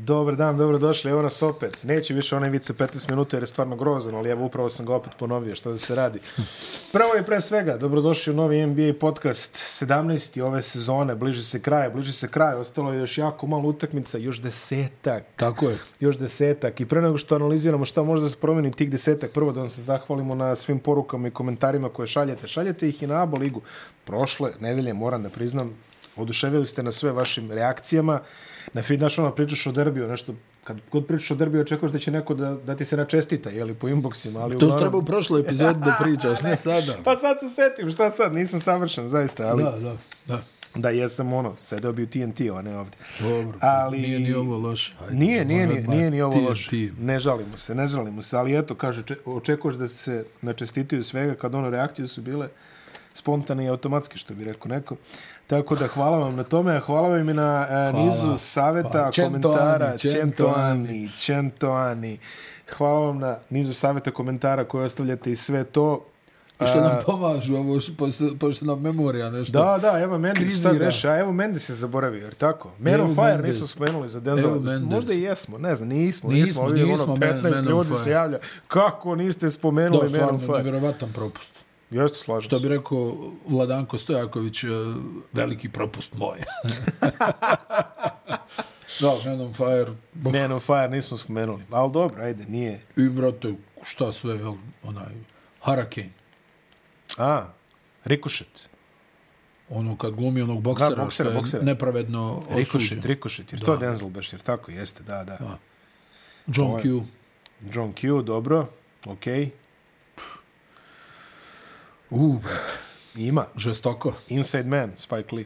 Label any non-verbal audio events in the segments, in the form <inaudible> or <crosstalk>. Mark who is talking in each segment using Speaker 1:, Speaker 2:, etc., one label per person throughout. Speaker 1: Dobar dan, dobrodošli, evo nas opet. Neće više onaj vic u 15 minuta jer je stvarno grozan, ali evo upravo sam ga opet ponovio što da se radi. Prvo i pre svega, dobrodošli u novi NBA podcast 17. ove sezone, bliže se kraj, bliže se kraj, ostalo je još jako malo utakmica, još desetak,
Speaker 2: Tako je.
Speaker 1: još desetak. I pre nego što analiziramo šta može da se promeni tih desetak, prvo da vam se zahvalimo na svim porukama i komentarima koje šaljete. Šaljete ih i na ABO ligu. Prošle nedelje, moram da priznam, oduševili ste na sve vašim reakcijama. Na feed naš ono pričaš o derbiju, nešto, kad god pričaš o derbiju očekuješ da će neko da, da ti se načestita, jeli, po inboxima, ali
Speaker 2: To si treba u prošloj epizodi da pričaš, ne sada.
Speaker 1: Pa sad se setim, šta sad, nisam savršen, zaista, ali
Speaker 2: Da, da, da.
Speaker 1: da jesam ono, sedeo bi u TNT, a ne ovde.
Speaker 2: Dobro, pa
Speaker 1: Ali-
Speaker 2: nije ni ovo loše. Ajde,
Speaker 1: Nije, nije,
Speaker 2: ono
Speaker 1: nije,
Speaker 2: bar
Speaker 1: nije ni ovo
Speaker 2: ti je
Speaker 1: loše.
Speaker 2: ti.
Speaker 1: Ne žalimo se, ne žalimo se, ali eto, kaže, če- očekuješ da se načestitaju svega kad ono reakcije su bile spontane i automatske, što bi rekao neko. Tako da hvala vam na tome, hvala vam i na e, nizu saveta,
Speaker 2: Hvala. Čento
Speaker 1: komentara,
Speaker 2: Ani, čento
Speaker 1: Čentoani, Čentoani. Hvala vam na nizu saveta, komentara koje ostavljate i sve to.
Speaker 2: I što nam pomažu, ovo, š- pošto, pošto nam memorija nešto.
Speaker 1: Da, da, evo Mendes sad
Speaker 2: Krizira.
Speaker 1: reša, a evo Mendes se zaboravio, jer tako? Man
Speaker 2: Evo
Speaker 1: on Fire
Speaker 2: Mendes.
Speaker 1: nisu spomenuli za Denzel.
Speaker 2: Evo
Speaker 1: Washington.
Speaker 2: Mendes.
Speaker 1: Možda i jesmo, ne znam, nismo,
Speaker 2: Nismo,
Speaker 1: nismo, ovdje
Speaker 2: nismo
Speaker 1: ono
Speaker 2: Man-
Speaker 1: 15
Speaker 2: Man on
Speaker 1: ljudi
Speaker 2: Fire.
Speaker 1: se javlja. Kako niste spomenuli
Speaker 2: da
Speaker 1: Man on
Speaker 2: stvarno,
Speaker 1: Fire?
Speaker 2: nevjerovatan propust.
Speaker 1: Jeste slažem
Speaker 2: Što
Speaker 1: se.
Speaker 2: bi rekao Vladanko Stojaković, e, veliki propust moj. <laughs> da, Man on Fire, bo-
Speaker 1: Man on Fire nismo spomenuli, ali dobro, ajde, nije.
Speaker 2: i brate, šta sve, jel, onaj, Hurricane,
Speaker 1: A, Rikušet.
Speaker 2: ono kad glumi onog boksera,
Speaker 1: boksera,
Speaker 2: što je
Speaker 1: boksera.
Speaker 2: nepravedno osuđen.
Speaker 1: Rikušet, Rikušet, jer to Denzel baš, jer tako jeste, da, da.
Speaker 2: John Q.
Speaker 1: John Q, dobro, okej.
Speaker 2: U, brate,
Speaker 1: Ima,
Speaker 2: žestoko.
Speaker 1: Inside Man, Spike Lee.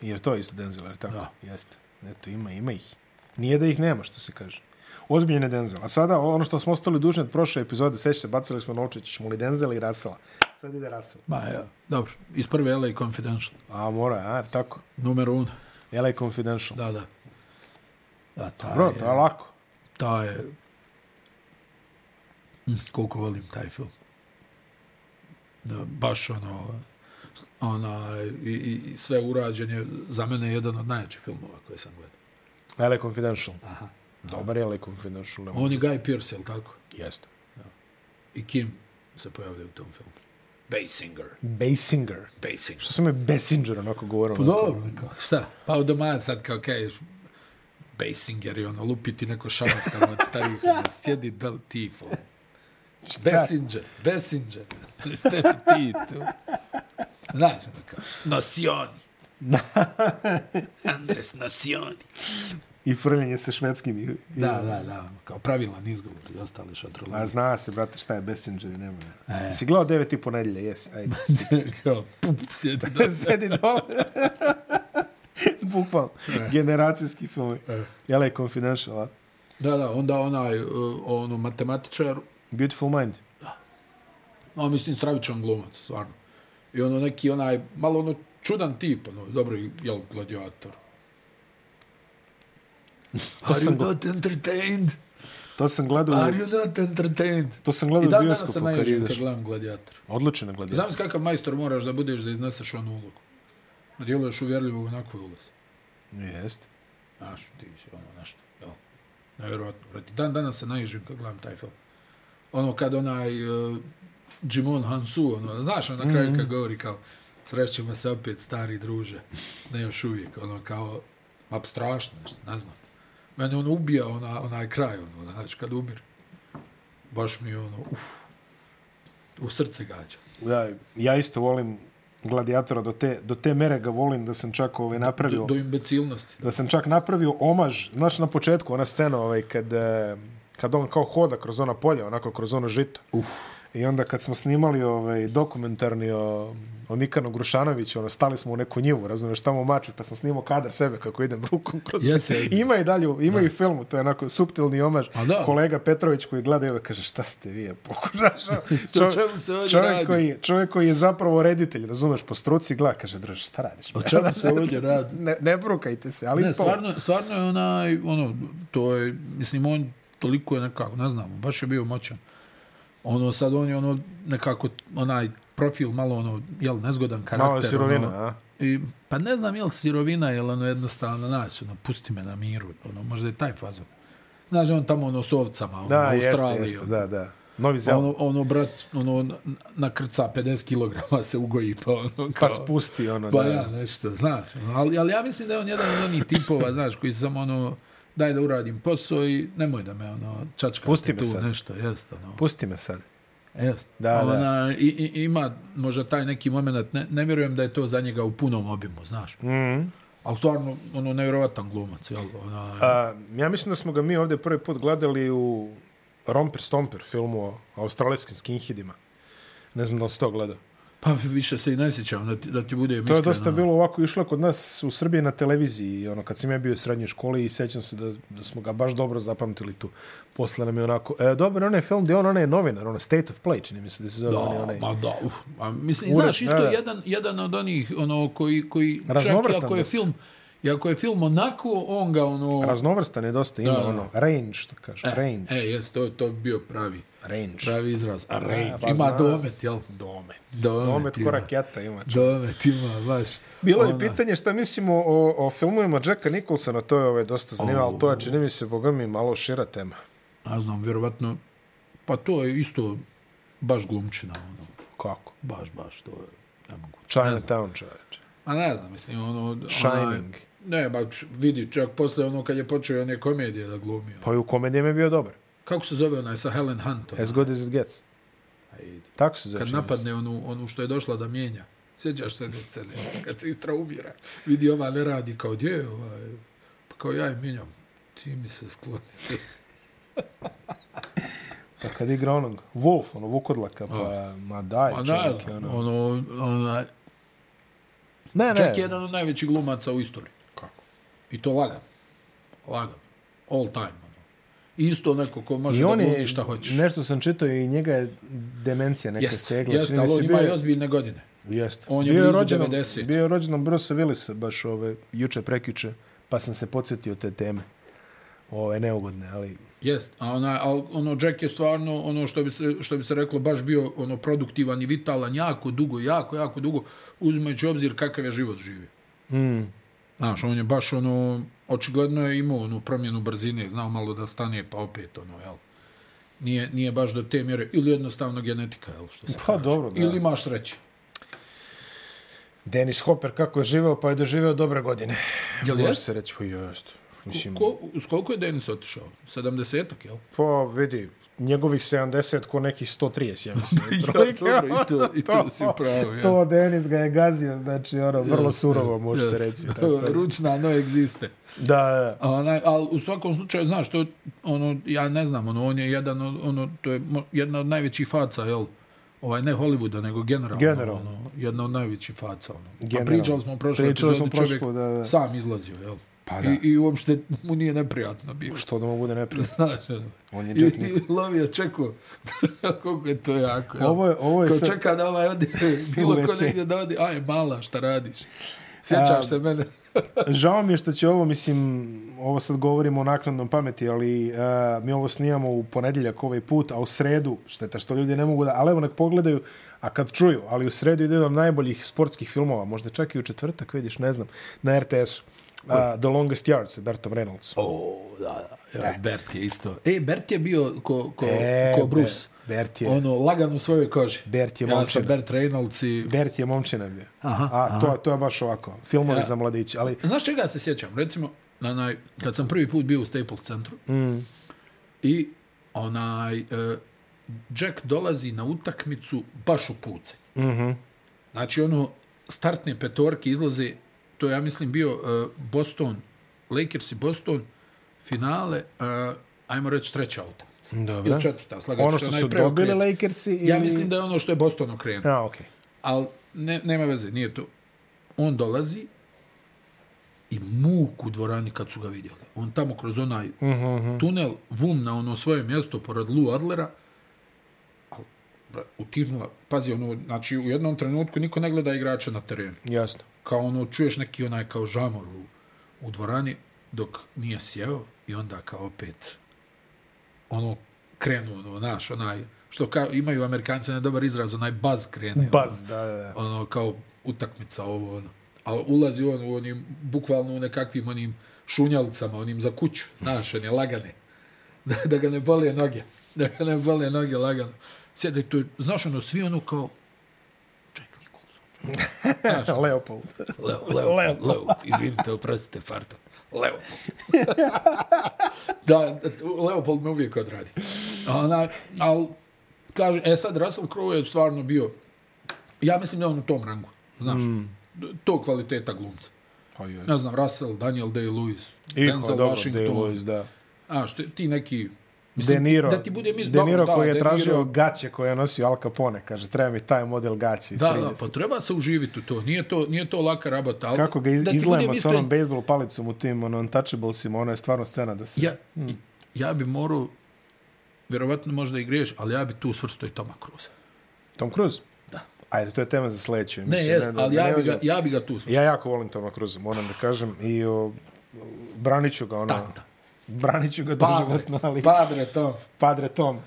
Speaker 1: Jer to je isto Denzel, jer tako?
Speaker 2: Da.
Speaker 1: Jeste. Eto, ima, ima ih. Nije da ih nema, što se kaže. Ozbiljen je Denzel. A sada, ono što smo ostali dužni od prošle epizode, sećate se, bacili smo novčić, ćemo li Denzel i Rasela. Sad ide Rasel.
Speaker 2: Ma ja, dobro. Iz prve LA Confidential.
Speaker 1: A, mora, a, jer tako.
Speaker 2: Numero uno.
Speaker 1: LA Confidential.
Speaker 2: Da, da. Da, ta
Speaker 1: Bro,
Speaker 2: je,
Speaker 1: to je lako.
Speaker 2: ta je... Mm, Koliko volim taj film. Da, baš ono, ona, i, i, i sve urađen je za mene jedan od najjačih filmova koje sam gledao.
Speaker 1: LA Confidential.
Speaker 2: Aha.
Speaker 1: Dobar je LA Confidential. nema-
Speaker 2: On je Guy Pearce, jel tako?
Speaker 1: Jeste.
Speaker 2: I Kim se pojavlja u tom filmu. Basinger.
Speaker 1: Basinger.
Speaker 2: Basinger.
Speaker 1: Što sam je Basinger onako govorio?
Speaker 2: Pa
Speaker 1: onako?
Speaker 2: dobro, kao, šta? Pa u doma sad kao kažeš, Basinger i ono, lupiti neko šamak tamo od starih, ono, sjedi da li ti, fo.
Speaker 1: ono,
Speaker 2: Basinger, Basinger, ste mi ti tu. Znaš, ono kao, <laughs> nosioni. Andres Nosioni.
Speaker 1: I frljenje sa švedskim. I, i,
Speaker 2: Da, da, da, ono, kao pravilan izgovor i ostale
Speaker 1: A
Speaker 2: šatrolazije.
Speaker 1: zna se, brate, šta je Basinger i nema. E. Si gledao devet i ponedjelje, jesi,
Speaker 2: <laughs>
Speaker 1: ajde.
Speaker 2: kao, pup, sjedi <laughs> do...
Speaker 1: Sedi dole. <laughs> Bukvalno.
Speaker 2: E.
Speaker 1: Generacijski film. Jel je Confidential, a?
Speaker 2: Da, da, onda onaj, uh, ono, matematičar,
Speaker 1: Beautiful Mind.
Speaker 2: No, mislim, stravičan glumac, stvarno. I ono neki onaj, malo ono čudan tip, ono, dobro, i- jel, gladiator. Are you not entertained?
Speaker 1: To sam gledao,
Speaker 2: Are you not entertained?
Speaker 1: to sam
Speaker 2: I
Speaker 1: gledao u
Speaker 2: dan danas se
Speaker 1: bioskopu kad
Speaker 2: naježim kad
Speaker 1: ideš.
Speaker 2: gledam gladiator.
Speaker 1: Odlično je gledao.
Speaker 2: Znam se kakav majstor moraš da budeš da izneseš onu ulogu. Da djeluješ uvjerljivo u onakvoj ulozi.
Speaker 1: Jeste.
Speaker 2: Znaš, ti si ono nešto, jel? Nevjerojatno. Vrati, dan danas se naježim kad gledam taj film. Ono kad onaj uh, Jimon Hansu, ono, znaš, on na kraju kad govori kao srećemo se opet, stari druže. Ne još uvijek, ono kao, ma strašno nešto, ne znam. Mene ono ubija ona, onaj kraj, ono, znaš, kad umir. Baš mi je ono, uf, u srce gađa.
Speaker 1: Ja, ja isto volim Gladiatora, do te, do te mere ga volim da sam čak ovaj, napravio
Speaker 2: Do, do imbecilnosti.
Speaker 1: da sam čak napravio omaž, znaš na početku ona scena ovaj kad e, kad on kao hoda kroz ona polja, onako kroz ono žito. Uf. I onda kad smo snimali ovaj dokumentarni o, o Nikanu Grušanoviću, ono, stali smo u neku njivu, razumiješ, tamo u mači, pa sam snimao kadar sebe kako idem rukom kroz
Speaker 2: Jeste,
Speaker 1: žito. <laughs> Ima i dalje, ima i u filmu, to je onako suptilni omaž.
Speaker 2: A da.
Speaker 1: Kolega Petrović koji gleda i ovaj kaže, šta ste vi,
Speaker 2: <laughs>
Speaker 1: pokušaš? Ono,
Speaker 2: O čemu se ovdje
Speaker 1: čovjek
Speaker 2: radi?
Speaker 1: koji, je- čovjek koji je zapravo reditelj, razumeš, po struci gleda, kaže, drž, šta radiš?
Speaker 2: O čemu se ovdje radi?
Speaker 1: Ne, ne brukajte se, ali
Speaker 2: Ne,
Speaker 1: ispalo.
Speaker 2: stvarno, stvarno je onaj, ono, to je, mislim, on toliko je nekako, ne znam, baš je bio moćan. Ono, sad on je ono, nekako, onaj profil malo ono, jel, nezgodan karakter.
Speaker 1: Malo je sirovina,
Speaker 2: ono,
Speaker 1: a?
Speaker 2: I, pa ne znam jel sirovina, jel ono jednostavno nas, ono, pusti me na miru, ono, možda je taj fazon. Znaš, on tamo ono s ovcama, ono,
Speaker 1: Da,
Speaker 2: u
Speaker 1: jeste,
Speaker 2: Australiji.
Speaker 1: jeste,
Speaker 2: ono.
Speaker 1: da, da. Novi
Speaker 2: Pa
Speaker 1: Zeland.
Speaker 2: ono, ono, brat, ono, na- nakrca 50 kilograma se ugoji, pa ono,
Speaker 1: Pa
Speaker 2: kao,
Speaker 1: spusti ono,
Speaker 2: pa
Speaker 1: da.
Speaker 2: ja, nešto, znaš. ono, Ali, ali ja mislim da je on jedan od onih tipova, znaš, koji samo ono, daj da uradim posao i nemoj da me, ono, čačkate
Speaker 1: Pusti me
Speaker 2: tu,
Speaker 1: sad.
Speaker 2: nešto, jeste, ono.
Speaker 1: Pusti me sad.
Speaker 2: Jest.
Speaker 1: Da,
Speaker 2: Ali
Speaker 1: da.
Speaker 2: Ona, i, i, ima možda taj neki moment, ne, ne vjerujem da je to za njega u punom obimu, znaš.
Speaker 1: Mm.
Speaker 2: Ali stvarno, ono, nevjerovatan glumac, jel? Ona,
Speaker 1: A, ja mislim da smo ga mi ovdje prvi put gledali u Romper Stomper filmu o australijskim skinheadima. Ne znam da li si to gledao.
Speaker 2: pa više se i ne sjećam, da ti, da ti ono. bude
Speaker 1: To
Speaker 2: iskreno.
Speaker 1: je dosta bilo ovako išlo kod nas u Srbiji na televiziji, ono, kad sam ja bio u srednjoj školi i sjećam se da, da smo ga baš dobro zapamtili tu. Posle nam je onako, e, dobro, onaj film gdje on onaj novinar, ono State of Play, čini mi se da se zove onaj,
Speaker 2: Da,
Speaker 1: onaj.
Speaker 2: ma da, uf. A, mislim,
Speaker 1: Ured,
Speaker 2: znaš, isto
Speaker 1: da, da.
Speaker 2: jedan, jedan od onih, ono, koji, koji čak i
Speaker 1: Raznovrstan
Speaker 2: ako je
Speaker 1: dosta.
Speaker 2: film, i ako je film onako, on ga, ono...
Speaker 1: Raznovrstan je dosta, ima
Speaker 2: Da, da.
Speaker 1: ono, range, što kažu, range,
Speaker 2: E, jes, to, to bi bio pravi,
Speaker 1: range.
Speaker 2: pravi izraz. A range,
Speaker 1: pa
Speaker 2: ima
Speaker 1: znam.
Speaker 2: domet, jel?
Speaker 1: Domet.
Speaker 2: Domet,
Speaker 1: Domet
Speaker 2: ima.
Speaker 1: korak jata ima.
Speaker 2: Domet ima, baš.
Speaker 1: Bilo je
Speaker 2: Ona-
Speaker 1: pitanje šta mislimo o, o filmovima Jacka Nicholsona, to je ovaj, dosta zanimljivo, ali to je, čini mi se, boga mi, malo šira tema.
Speaker 2: ne znam, vjerovatno, pa to je isto baš glumčina, ono,
Speaker 1: Kako?
Speaker 2: baš, baš, to je, ne mogu.
Speaker 1: Chinatown, čoveče.
Speaker 2: A ne znam, mislim, ono... Onaj,
Speaker 1: Shining.
Speaker 2: ne, ba, vidi, čak posle ono kad je počeo i one komedije da ono. glumio.
Speaker 1: Pa i u komedijama je bio dobar.
Speaker 2: Kako se zove onaj sa Helen Hunt? ona?
Speaker 1: As good as it gets.
Speaker 2: Ajde.
Speaker 1: Tako se zove.
Speaker 2: Kad
Speaker 1: čini mi se.
Speaker 2: napadne onu, onu što je došla da mijenja. Sjećaš se ne scene, kad se istra umira. Vidi, ova ne radi, kao gdje je ovaj, pa kao ja je mijenjam. Ti mi se skloni se.
Speaker 1: Pa kad igra onog, Wolf, ono, Vukodlaka, pa, ma daj,
Speaker 2: Pa ne
Speaker 1: čovjek,
Speaker 2: znam,
Speaker 1: ono.
Speaker 2: ono, onaj,
Speaker 1: Ne, ne.
Speaker 2: Čak je jedan od najvećih glumaca u istoriji.
Speaker 1: Kako?
Speaker 2: I to lagano. Lagano. All time. Ono. Isto neko ko može
Speaker 1: I
Speaker 2: da
Speaker 1: on
Speaker 2: glumi
Speaker 1: je,
Speaker 2: šta hoćeš.
Speaker 1: nešto sam čitao i njega je demencija neka
Speaker 2: Jeste,
Speaker 1: stegla.
Speaker 2: jeste,
Speaker 1: čini mi
Speaker 2: ali
Speaker 1: se,
Speaker 2: on ima
Speaker 1: bio
Speaker 2: i
Speaker 1: je-
Speaker 2: ozbiljne godine.
Speaker 1: Jeste.
Speaker 2: On je
Speaker 1: bio
Speaker 2: blizu
Speaker 1: rođen,
Speaker 2: 90.
Speaker 1: Bio je rođen od Bruce Willisa, baš ove, juče, prekjuče, pa sam se podsjetio te teme. Ove, neugodne, ali...
Speaker 2: Jest, a ona, al, ono, Jack je stvarno, ono što bi, se, što bi se reklo, baš bio ono produktivan i vitalan jako dugo, jako, jako dugo, uzimajući obzir kakav je život živi.
Speaker 1: Mm.
Speaker 2: Hmm. Znaš, on je baš ono, očigledno je imao onu promjenu brzine, znao malo da stane, pa opet ono, jel? Nije, nije baš do te mjere, ili jednostavno genetika, jel, što se
Speaker 1: Pa
Speaker 2: kaže.
Speaker 1: dobro, da.
Speaker 2: Ili imaš sreće.
Speaker 1: Dennis Hopper kako je živeo, pa je doživeo dobre godine.
Speaker 2: Jel
Speaker 1: Može
Speaker 2: jest?
Speaker 1: se reći, pa jest. Mislim,
Speaker 2: Ko, s koliko je Denis otišao? 70-ak, <laughs> jel?
Speaker 1: pa vidi, njegovih 70 ko nekih 130, ja
Speaker 2: <laughs>
Speaker 1: mislim. otprilike. ono,
Speaker 2: dobro, i to- i to si u pravu, ja.
Speaker 1: To Denis ga je gazio, znači, ono, vrlo surovo, može se reći.
Speaker 2: <laughs>
Speaker 1: Tako. da.
Speaker 2: Ručna, no egziste.
Speaker 1: Da,
Speaker 2: <laughs>
Speaker 1: da.
Speaker 2: A Onaj, ali u svakom slučaju, znaš, to, ono, ja ne znam, ono, on je jedan od, ono, to je mo- jedna od najvećih faca, jel? Ovaj, ne Hollywooda, nego generalno.
Speaker 1: Generalno.
Speaker 2: Ono, jedna od najvećih faca, ono.
Speaker 1: Generalno.
Speaker 2: Pa pričali smo prošle
Speaker 1: Pričali
Speaker 2: epizode,
Speaker 1: smo
Speaker 2: čovjek
Speaker 1: prošlo, da, da.
Speaker 2: sam izlazio, jel?
Speaker 1: Pa
Speaker 2: I, I uopšte mu nije neprijatno bilo.
Speaker 1: Što da mu bude neprijatno.
Speaker 2: <laughs> Znaš, ono.
Speaker 1: On je
Speaker 2: I,
Speaker 1: Jack
Speaker 2: i lovio čekao <laughs> koliko je to jako. Jel?
Speaker 1: Ovo je, ovo je
Speaker 2: Ko
Speaker 1: sad...
Speaker 2: čeka da ovaj
Speaker 1: <laughs>
Speaker 2: ode, bilo ko
Speaker 1: WC.
Speaker 2: negdje da ode, aj mala, šta radiš? Sjećaš
Speaker 1: A,
Speaker 2: se mene?
Speaker 1: Žao mi je što će ovo, mislim, ovo sad govorimo o naknadnom pameti, ali uh, mi ovo snijamo u ponedjeljak ovaj put, a u sredu, šteta što ljudi ne mogu da, ali evo nek pogledaju, a kad čuju, ali u sredu ide nam najboljih sportskih filmova, možda čak i u četvrtak, vidiš, ne znam, na RTS-u. Uh, The Longest Yard sa Bertom Reynolds.
Speaker 2: O, da, da. Ja, Bert je isto. E, Bert je bio ko, ko,
Speaker 1: E,
Speaker 2: e, ko Bruce.
Speaker 1: Ber- Bert je-
Speaker 2: Ono, lagan u svojoj koži.
Speaker 1: Bert je
Speaker 2: Ja sam
Speaker 1: momčina.
Speaker 2: Bert Reynolds i...
Speaker 1: Bert je momčina bio.
Speaker 2: Aha,
Speaker 1: a to, to je baš ovako, filmovi za mladiće, ali
Speaker 2: Znaš čega se sjećam? Recimo, na onaj, kad sam prvi put bio u Staples centru mm. i onaj, e, Jack dolazi na utakmicu baš u pucanj. Mm -hmm.
Speaker 1: Mhm.
Speaker 2: Znači, ono, startne petorke izlaze, to je, ja mislim, bio e, Boston, Lakers i Boston, finale, e, ajmo reći treća auta.
Speaker 1: Dobro.
Speaker 2: Ili četvrta, slagač.
Speaker 1: ono što su dobili Lakersi ili...
Speaker 2: Ja mislim da je ono što je Boston okrenuo.
Speaker 1: A, okej.
Speaker 2: Ali ne, nema veze, nije to. On dolazi i muk u dvorani kad su ga vidjeli. On tamo kroz onaj tunel, vum na ono svoje mjesto pored Lou Adlera, al, bra, utirnula, pazi, ono, znači u jednom trenutku niko ne gleda igrača na terenu.
Speaker 1: Jasno.
Speaker 2: Kao ono, čuješ neki onaj kao žamor u, u dvorani dok nije sjeo i onda kao opet ono krenuo, ono, naš, onaj što kao, imaju Amerikanci na dobar izraz, onaj buzz krene.
Speaker 1: Baz, da, da, da.
Speaker 2: Ono, ono, kao utakmica ovo, ono. A ulazi on u onim, bukvalno u nekakvim onim šunjalicama, onim za kuću, znaš, one lagane. <laughs> Da, da ga ne bole noge. Da ga ne bole noge lagano. Sjede tu, znaš, ono, svi ono kao, Jack Nicholson,
Speaker 1: <laughs> Leopold.
Speaker 2: Leo, Leo, Leo, Leo, izvinite, oprostite, pardon.
Speaker 1: <laughs>
Speaker 2: Leo. da, Leopold me uvijek odradi. Ona, al, kaže, e sad, Russell Crowe je stvarno bio, ja mislim da je on u tom rangu, znaš, mm. to kvaliteta glumca.
Speaker 1: Pa joj.
Speaker 2: Ne znam, Russell, Daniel Day-Lewis,
Speaker 1: I,
Speaker 2: Denzel
Speaker 1: dobro,
Speaker 2: Washington,
Speaker 1: Day-Lewis, da.
Speaker 2: A, što, ti neki...
Speaker 1: De Niro,
Speaker 2: da ti budem iz-
Speaker 1: De Niro
Speaker 2: dobro, da,
Speaker 1: koji je
Speaker 2: De
Speaker 1: tražio
Speaker 2: Niro.
Speaker 1: gaće koje je nosio Al Capone, kaže, treba mi taj model gaće iz
Speaker 2: Da,
Speaker 1: 30.
Speaker 2: da, pa treba se uživiti u to. Nije to, nije to laka rabota. Ali,
Speaker 1: Kako ga iz,
Speaker 2: pa- da ti budem
Speaker 1: izlema sa
Speaker 2: iskren,
Speaker 1: onom bejsbol palicom u tim ono, untouchablesima, ona je stvarno scena da se...
Speaker 2: Ja, ja bi morao, vjerovatno možda i griješ, ali ja bi tu svrstao i Toma Cruise.
Speaker 1: Tom Cruise?
Speaker 2: Da.
Speaker 1: Ajde, to je tema za sledeću.
Speaker 2: Ne,
Speaker 1: emisiju,
Speaker 2: jest,
Speaker 1: da-
Speaker 2: ali
Speaker 1: da
Speaker 2: ja
Speaker 1: ne
Speaker 2: bi, ga,
Speaker 1: uđemo.
Speaker 2: ja bi ga tu svrstao.
Speaker 1: Ja jako volim Toma Cruise, moram da kažem, i o, braniću ga, ono...
Speaker 2: Tata.
Speaker 1: Braniću ga
Speaker 2: Padre,
Speaker 1: doživotno, ali...
Speaker 2: padre to.
Speaker 1: Padre Tom,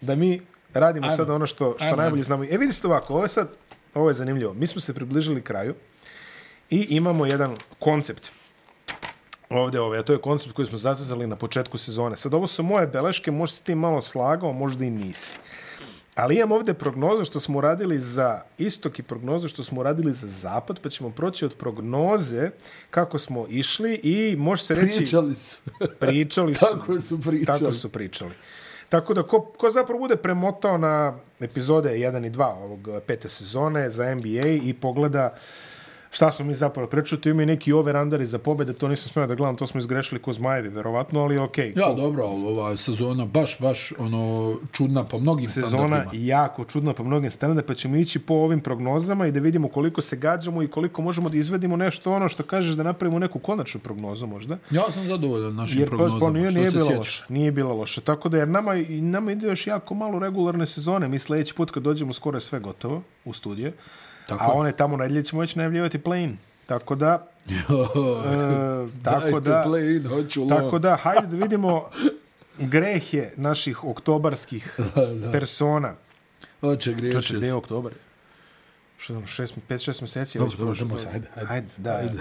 Speaker 1: da mi radimo
Speaker 2: Ajmo.
Speaker 1: sad ono što, što
Speaker 2: Ajmo,
Speaker 1: najbolje
Speaker 2: ajmo.
Speaker 1: znamo. E vidite ovako, ovo je sad, ovo je zanimljivo. Mi smo se približili kraju i imamo jedan koncept ovdje ovaj, a to je koncept koji smo zacrtali na početku sezone. Sad ovo su moje beleške, možda si ti malo slagao, možda i nisi. Ali imam ovdje prognoze što smo uradili za istok i prognoze što smo uradili za zapad, pa ćemo proći od prognoze kako smo išli i može se reći...
Speaker 2: Pričali su. <laughs>
Speaker 1: Pričali su.
Speaker 2: Tako su pričali.
Speaker 1: Tako su pričali. Tako da, ko, ko zapravo bude premotao na epizode 1 i 2 ovog eh, pete sezone za NBA i pogleda šta smo mi zapravo pričali, tu imaju neki over-underi za pobjede, to nisam smio da gledam, to smo izgrešili ko zmajevi, verovatno, ali okej. Okay.
Speaker 2: Ja, dobro, ali ova sezona baš, baš ono, čudna po mnogim
Speaker 1: Sezona
Speaker 2: standardima.
Speaker 1: jako čudna po mnogim standardima, pa ćemo ići po ovim prognozama i da vidimo koliko se gađamo i koliko možemo da izvedimo nešto ono što kažeš da napravimo neku konačnu prognozu možda.
Speaker 2: Ja sam zadovoljan našim
Speaker 1: Jer pa,
Speaker 2: Znači, prognozama.
Speaker 1: pa nije,
Speaker 2: što
Speaker 1: nije
Speaker 2: se
Speaker 1: bilo
Speaker 2: sjećaš. <laughs>
Speaker 1: loše. Nije bilo loše. Tako da jer nama, i nama ide još jako malo regularne sezone. Mi sljedeći put kad dođemo skoro je sve gotovo u studije. Tako.
Speaker 2: Tako
Speaker 1: A
Speaker 2: je.
Speaker 1: one tamo nedelje ćemo već najavljivati play-in. Tako da, e, tako
Speaker 2: <laughs> Dajte
Speaker 1: da,
Speaker 2: play in, hoću
Speaker 1: tako da, hajde da vidimo grehe naših oktobarskih
Speaker 2: <laughs> da.
Speaker 1: persona.
Speaker 2: Hoće griješiti.
Speaker 1: Čoče, gde je oktobar? Što nam, šest, pet, šest mjeseci? je
Speaker 2: Dobro,
Speaker 1: već
Speaker 2: dobro,
Speaker 1: prošlo.
Speaker 2: idemo se, hajde, hajde.
Speaker 1: Hajde, da. Hajde.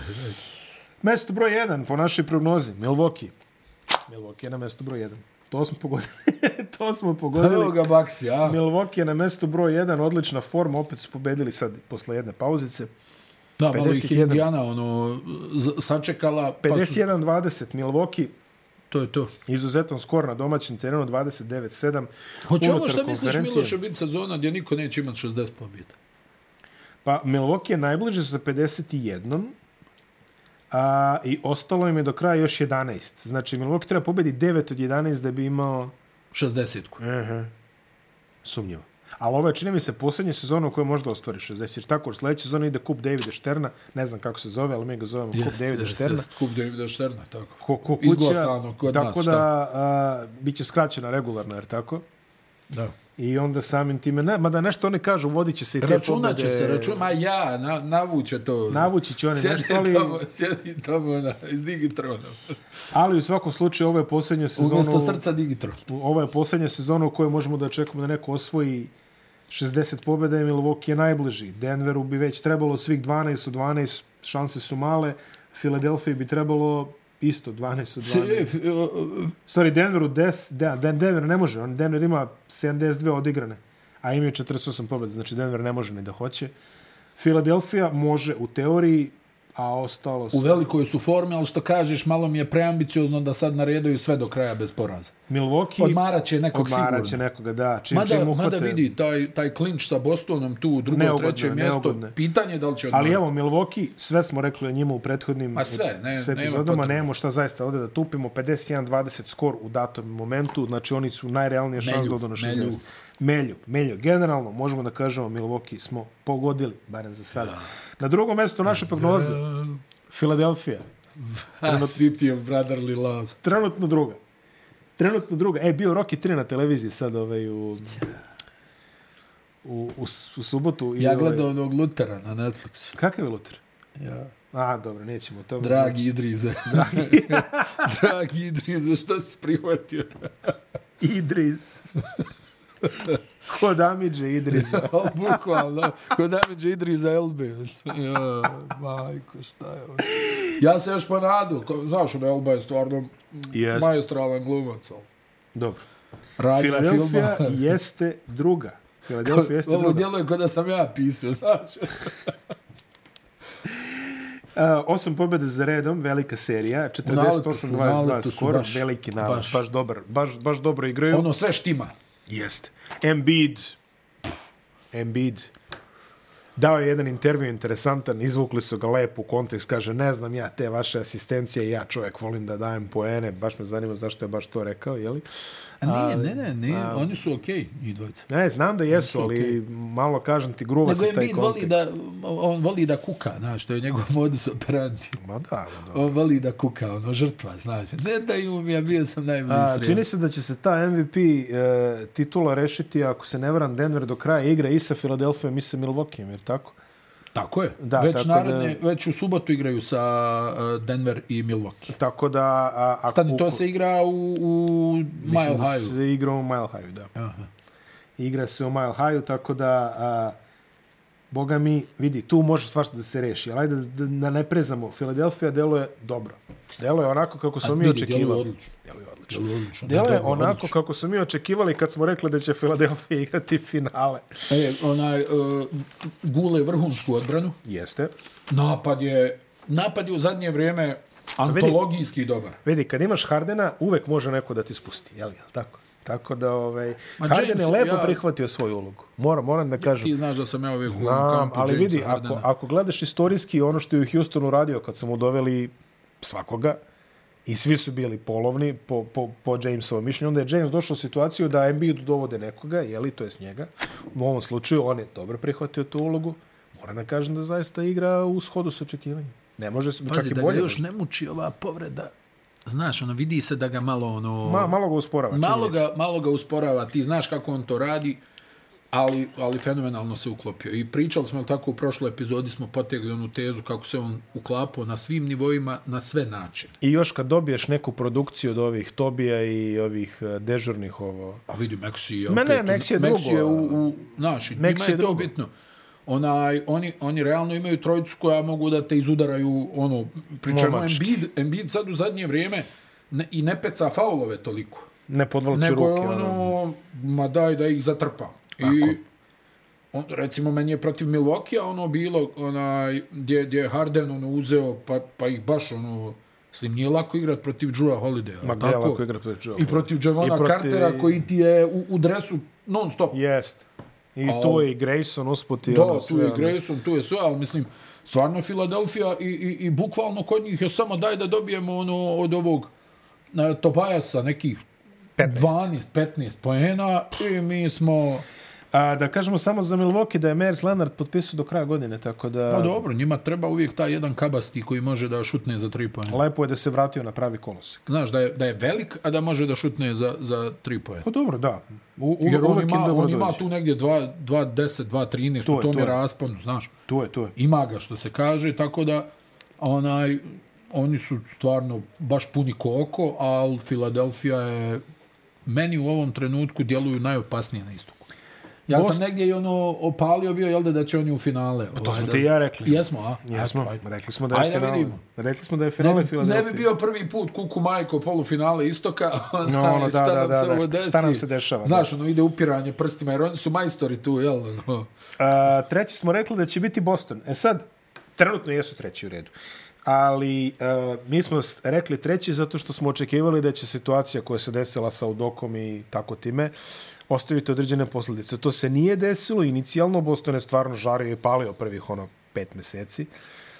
Speaker 1: Mesto broj 1 po našoj prognozi, Milwaukee. Milwaukee je na mesto broj 1. To smo pogodili. <laughs> to smo pogodili.
Speaker 2: Pa Evo ga Baksi, a?
Speaker 1: Milwaukee je na mestu broj 1, odlična forma, opet su pobedili sad posle jedne pauzice.
Speaker 2: Pa Da, malo ih je
Speaker 1: 51.
Speaker 2: Indiana, ono, z- sačekala, pa su,
Speaker 1: 51-20 Milwaukee,
Speaker 2: to je to.
Speaker 1: izuzetan skor na domaćem terenu, 29-7.
Speaker 2: Hoće ovo
Speaker 1: Unutar
Speaker 2: što Pa misliš,
Speaker 1: konferencije.
Speaker 2: Miloše, biti sezona gdje niko neće imati 60 pobjeda.
Speaker 1: Pa Milwaukee je najbliže sa 51 a, i ostalo im je do kraja još 11. Znači Milwaukee treba pobedi 9 od 11 da bi imao
Speaker 2: 60 ku.
Speaker 1: E, sumnjivo. Ali ovo je, čini mi se, posljednja sezona u kojoj možda ostvari 60. Jer tako, sljedeća sezona ide kup Davida Šterna, ne znam kako se zove, ali mi ga zovemo kup Davida Šterna.
Speaker 2: Kup Davida Šterna, tako.
Speaker 1: Ko, ko kuća,
Speaker 2: Izglasano kod nas,
Speaker 1: tako
Speaker 2: šta?
Speaker 1: da a, bit će skraćena regularno, jer tako?
Speaker 2: Da.
Speaker 1: I onda samim time, ne, mada nešto oni kažu, vodit će se i te
Speaker 2: Računat će
Speaker 1: pobjede,
Speaker 2: se, račun, ma ja, na, navuće to.
Speaker 1: Navući će oni
Speaker 2: Sjedi
Speaker 1: nešto, ali,
Speaker 2: tamo, sjedi tamo na, iz Digitrona.
Speaker 1: ali u svakom slučaju ovo je posljednja sezona...
Speaker 2: Umjesto srca Digitron.
Speaker 1: Ovo je posljednja sezona u kojoj možemo da očekujemo da neko osvoji 60 pobjeda i Milwaukee je najbliži. Denveru bi već trebalo svih 12 od 12, šanse su male. Filadelfiji bi trebalo isto 12 od 12.
Speaker 2: Sjef, e, e,
Speaker 1: Sorry, Denveru 10, da, Den- Denver ne može, on Denver ima 72 odigrane, a imaju 48 pobjeda, znači Denver ne može ni da hoće. Filadelfija može u teoriji, a ostalo
Speaker 2: U
Speaker 1: su...
Speaker 2: velikoj su formi, ali što kažeš, malo mi je preambiciozno da sad naredaju sve do kraja bez poraza.
Speaker 1: Milwaukee
Speaker 2: Odmarat će nekog
Speaker 1: odmarat će
Speaker 2: sigurno.
Speaker 1: nekoga, da, čim,
Speaker 2: Mada,
Speaker 1: čim
Speaker 2: mada
Speaker 1: uhvate...
Speaker 2: vidi, taj, taj klinč sa Bostonom tu, drugo,
Speaker 1: Neugodno je,
Speaker 2: treće mjesto,
Speaker 1: neugodno je.
Speaker 2: pitanje je da li će
Speaker 1: Ali
Speaker 2: odmarati. <laughs>
Speaker 1: evo, Milwaukee, sve smo rekli o njima u prethodnim
Speaker 2: Ma sve, ne-
Speaker 1: sve
Speaker 2: nema
Speaker 1: epizodama,
Speaker 2: potrebe.
Speaker 1: nemamo šta zaista ovdje da tupimo, 51-20 skor u datom momentu, znači oni su najrealnije šanse da
Speaker 2: Melju,
Speaker 1: odu na
Speaker 2: melju.
Speaker 1: 60. Melju, melju. Generalno, možemo da kažemo, Milwaukee smo pogodili, barem za sada. Na drugom mjestu naše prognoze, Filadelfija.
Speaker 2: Ha, City of Brotherly Love.
Speaker 1: Trenutno druga. Trenutno druga. E, bio Rocky 3 na televiziji sad ovaj, u, u, u, s- u subotu. i
Speaker 2: Ja
Speaker 1: ovaj-
Speaker 2: gledam onog Lutera na Netflixu.
Speaker 1: Kakav je Luter?
Speaker 2: Ja.
Speaker 1: A, dobro, nećemo o tome.
Speaker 2: Dragi
Speaker 1: <laughs>
Speaker 2: Idrize. Dragi,
Speaker 1: <laughs>
Speaker 2: Dragi Idrize, što si prihvatio?
Speaker 1: Idris. Kod Amidže Idriza.
Speaker 2: Bukvalno, ko damage Idri za LB. Ja, majko, šta je ovo? Ja se još ponadu, ko, znaš, ono LB je stvarno
Speaker 1: Jest.
Speaker 2: Jest. majestralan glumac. ali
Speaker 1: Dobro.
Speaker 2: Radnja
Speaker 1: Filadelfija
Speaker 2: filma.
Speaker 1: jeste druga. Filadelfija jeste
Speaker 2: Ovo
Speaker 1: druga.
Speaker 2: djeluje kod da sam ja pisao, znaš.
Speaker 1: A, E, osam pobjeda za redom, velika serija,
Speaker 2: naletu su, u
Speaker 1: 48-22
Speaker 2: naletu su,
Speaker 1: skoro,
Speaker 2: baš,
Speaker 1: veliki nalet, baš,
Speaker 2: baš.
Speaker 1: baš dobar, baš, baš dobro igraju.
Speaker 2: Ono sve štima.
Speaker 1: Jeste. Embiid. Embiid. Dao je jedan intervju interesantan, izvukli su ga lepo u kontekst, kaže, ne znam ja te vaše asistencije, ja čovjek volim da dajem poene, baš me zanima zašto je baš to rekao, jeli?
Speaker 2: A nije, ne, ne, ne, oni su okej, okay, njih dvojica.
Speaker 1: Ne, znam da jesu, ali malo, kažem ti, gruva
Speaker 2: Nego
Speaker 1: se taj
Speaker 2: Embiid voli
Speaker 1: kontekst.
Speaker 2: da, on voli da kuka, znaš, to je njegov <laughs> modus operandi.
Speaker 1: Ma da, ma da.
Speaker 2: On voli da kuka, ono, žrtva, znaš. Ne daju mi, ja bio sam
Speaker 1: A,
Speaker 2: najblistrija.
Speaker 1: čini se da će se ta MVP e, titula rešiti, ako se ne varam, Denver do kraja igre i sa Filadelfijom i sa Milwaukeeom, jer tako?
Speaker 2: Tako je.
Speaker 1: Da,
Speaker 2: Da, već,
Speaker 1: tako
Speaker 2: tako
Speaker 1: da-
Speaker 2: naredne, da... već u subotu igraju sa e, Denver i Milwaukee.
Speaker 1: Tako da... A, ako,
Speaker 2: Stani, to se igra u, u Mile
Speaker 1: Mislim da
Speaker 2: High.
Speaker 1: se igra u Mile High, da.
Speaker 2: Aha.
Speaker 1: igra se u Mile High, tako da, a, boga mi, vidi, tu može svašta da se reši, ali ajde da, da ne prezamo. Filadelfija deluje dobro. Deluje onako kako smo mi
Speaker 2: vidi, djeluje
Speaker 1: očekivali.
Speaker 2: odlično.
Speaker 1: Deluje odlično.
Speaker 2: Djeluje odlično.
Speaker 1: Deluje
Speaker 2: Dobro,
Speaker 1: onako
Speaker 2: odlično.
Speaker 1: kako smo mi očekivali kad smo rekli da će Filadelfija <laughs> igrati finale.
Speaker 2: E, onaj, uh, gule vrhunsku odbranu.
Speaker 1: Jeste.
Speaker 2: Napad je, napad je u zadnje vrijeme antologijski dobar.
Speaker 1: Vidi, kad imaš Hardena, uvek može neko da ti spusti, jel, jel tako? Tako da, ovaj,
Speaker 2: Ma,
Speaker 1: Harden
Speaker 2: James,
Speaker 1: je lepo
Speaker 2: ja-
Speaker 1: prihvatio svoju ulogu. Moram, moram da kažem.
Speaker 2: Ti znaš da sam ja uvijek u
Speaker 1: Znam,
Speaker 2: kampu
Speaker 1: ali
Speaker 2: Jamesa
Speaker 1: vidi, ako,
Speaker 2: Hardena.
Speaker 1: ako gledaš istorijski ono što je u Houstonu radio kad su mu doveli svakoga i svi su bili polovni po, po, po Jamesovom mišljenju, onda je James došao u situaciju da Embiid dovode nekoga, jeli, to je s njega. U ovom slučaju on je dobro prihvatio tu ulogu. Moram da kažem da zaista igra u shodu s očekivanjem. Ne može se, čak
Speaker 2: Pazi,
Speaker 1: i
Speaker 2: da ga
Speaker 1: bolje.
Speaker 2: još
Speaker 1: možda.
Speaker 2: ne muči ova povreda. Znaš, ono, vidi se da ga malo, ono...
Speaker 1: Ma, malo ga usporava.
Speaker 2: malo,
Speaker 1: činjenica.
Speaker 2: ga, malo ga usporava, ti znaš kako on to radi, ali, ali fenomenalno se uklopio. I pričali smo jel tako u prošloj epizodi, smo potegli onu tezu kako se on uklapao na svim nivoima, na sve načine.
Speaker 1: I još kad dobiješ neku produkciju od ovih Tobija i ovih eh, dežurnih ovo...
Speaker 2: A vidi, Meksi je
Speaker 1: Ma
Speaker 2: opet...
Speaker 1: ne, Maxi je drugo,
Speaker 2: je u,
Speaker 1: a-
Speaker 2: u naš, njima
Speaker 1: Maxi je
Speaker 2: je to
Speaker 1: drugo.
Speaker 2: bitno. Onaj, oni, oni realno imaju trojicu koja mogu da te izudaraju, ono, pričemu
Speaker 1: Momački.
Speaker 2: Embiid, Embiid sad u zadnje vrijeme ne, i ne peca faulove toliko.
Speaker 1: Ne podvlači
Speaker 2: nego je
Speaker 1: ruke.
Speaker 2: ono, ma daj da ih zatrpa. I on, recimo, meni je protiv Milwaukee ono bilo, onaj, gdje, gdje je Harden ono, uzeo, pa, pa ih baš ono, s njim nije lako igrat protiv Drewa Holiday.
Speaker 1: Ma gdje je lako igrat protiv Jrua
Speaker 2: I protiv Javona
Speaker 1: I protiv-
Speaker 2: Cartera koji ti je u, u dresu non stop.
Speaker 1: Jest. I
Speaker 2: Al-
Speaker 1: to je i Grayson usput i ono
Speaker 2: Da, tu
Speaker 1: sve,
Speaker 2: je
Speaker 1: ono.
Speaker 2: Grayson, tu je sve, ali mislim, stvarno Filadelfija i, i, i bukvalno kod njih je samo daj da dobijemo ono od ovog e, Tobajasa nekih
Speaker 1: 15.
Speaker 2: 12, 15 poena i mi smo...
Speaker 1: A, da kažemo samo za Milwaukee da je Mers Leonard potpisao do kraja godine, tako da...
Speaker 2: Pa dobro, njima treba uvijek taj jedan kabasti koji može da šutne za tri poena.
Speaker 1: Lepo je da se vratio na pravi kolosek.
Speaker 2: Znaš, da je, da je velik, a da može da šutne za, za tri poena.
Speaker 1: Pa dobro, da. U, u,
Speaker 2: Jer on
Speaker 1: uvek im
Speaker 2: ima,
Speaker 1: dobro
Speaker 2: on ima
Speaker 1: dođe.
Speaker 2: tu negdje 2, 2, 10, 2,
Speaker 1: To
Speaker 2: 13, to
Speaker 1: je,
Speaker 2: u tom
Speaker 1: to
Speaker 2: je
Speaker 1: je.
Speaker 2: rasponu, znaš.
Speaker 1: Tu je, tu je.
Speaker 2: Ima ga, što se kaže, tako da onaj, oni su stvarno baš puni koko, ali Filadelfija je meni u ovom trenutku djeluju najopasnije na istoku. Ja Most...
Speaker 1: Most-
Speaker 2: sam negdje i ono opalio bio, jel da, da će oni u finale. Pa
Speaker 1: To smo ti i ja rekli.
Speaker 2: Jesmo, a?
Speaker 1: Jesmo.
Speaker 2: Eto, ajde.
Speaker 1: Rekli smo da je
Speaker 2: Ajde,
Speaker 1: finale.
Speaker 2: vidimo.
Speaker 1: Rekli smo da je
Speaker 2: Ne,
Speaker 1: finale
Speaker 2: bi- ne
Speaker 1: Filadelfije.
Speaker 2: bi bio prvi put kuku majko polufinale istoka. <laughs>
Speaker 1: No, ono, da,
Speaker 2: šta
Speaker 1: da,
Speaker 2: nam
Speaker 1: da,
Speaker 2: se
Speaker 1: da,
Speaker 2: ovo
Speaker 1: šta-
Speaker 2: desi.
Speaker 1: šta nam se dešava, da.
Speaker 2: Znaš, ono ide upiranje prstima, jer oni su majstori tu, jel? Ono.
Speaker 1: A, treći smo rekli da će biti Boston. E sad, trenutno jesu treći u redu. Ali a, mi smo s- rekli treći zato što smo očekivali da će situacija koja se desila sa Udokom i tako time ostaviti određene posljedice. To se nije desilo. Inicijalno Boston je stvarno žario i palio prvih ono pet meseci.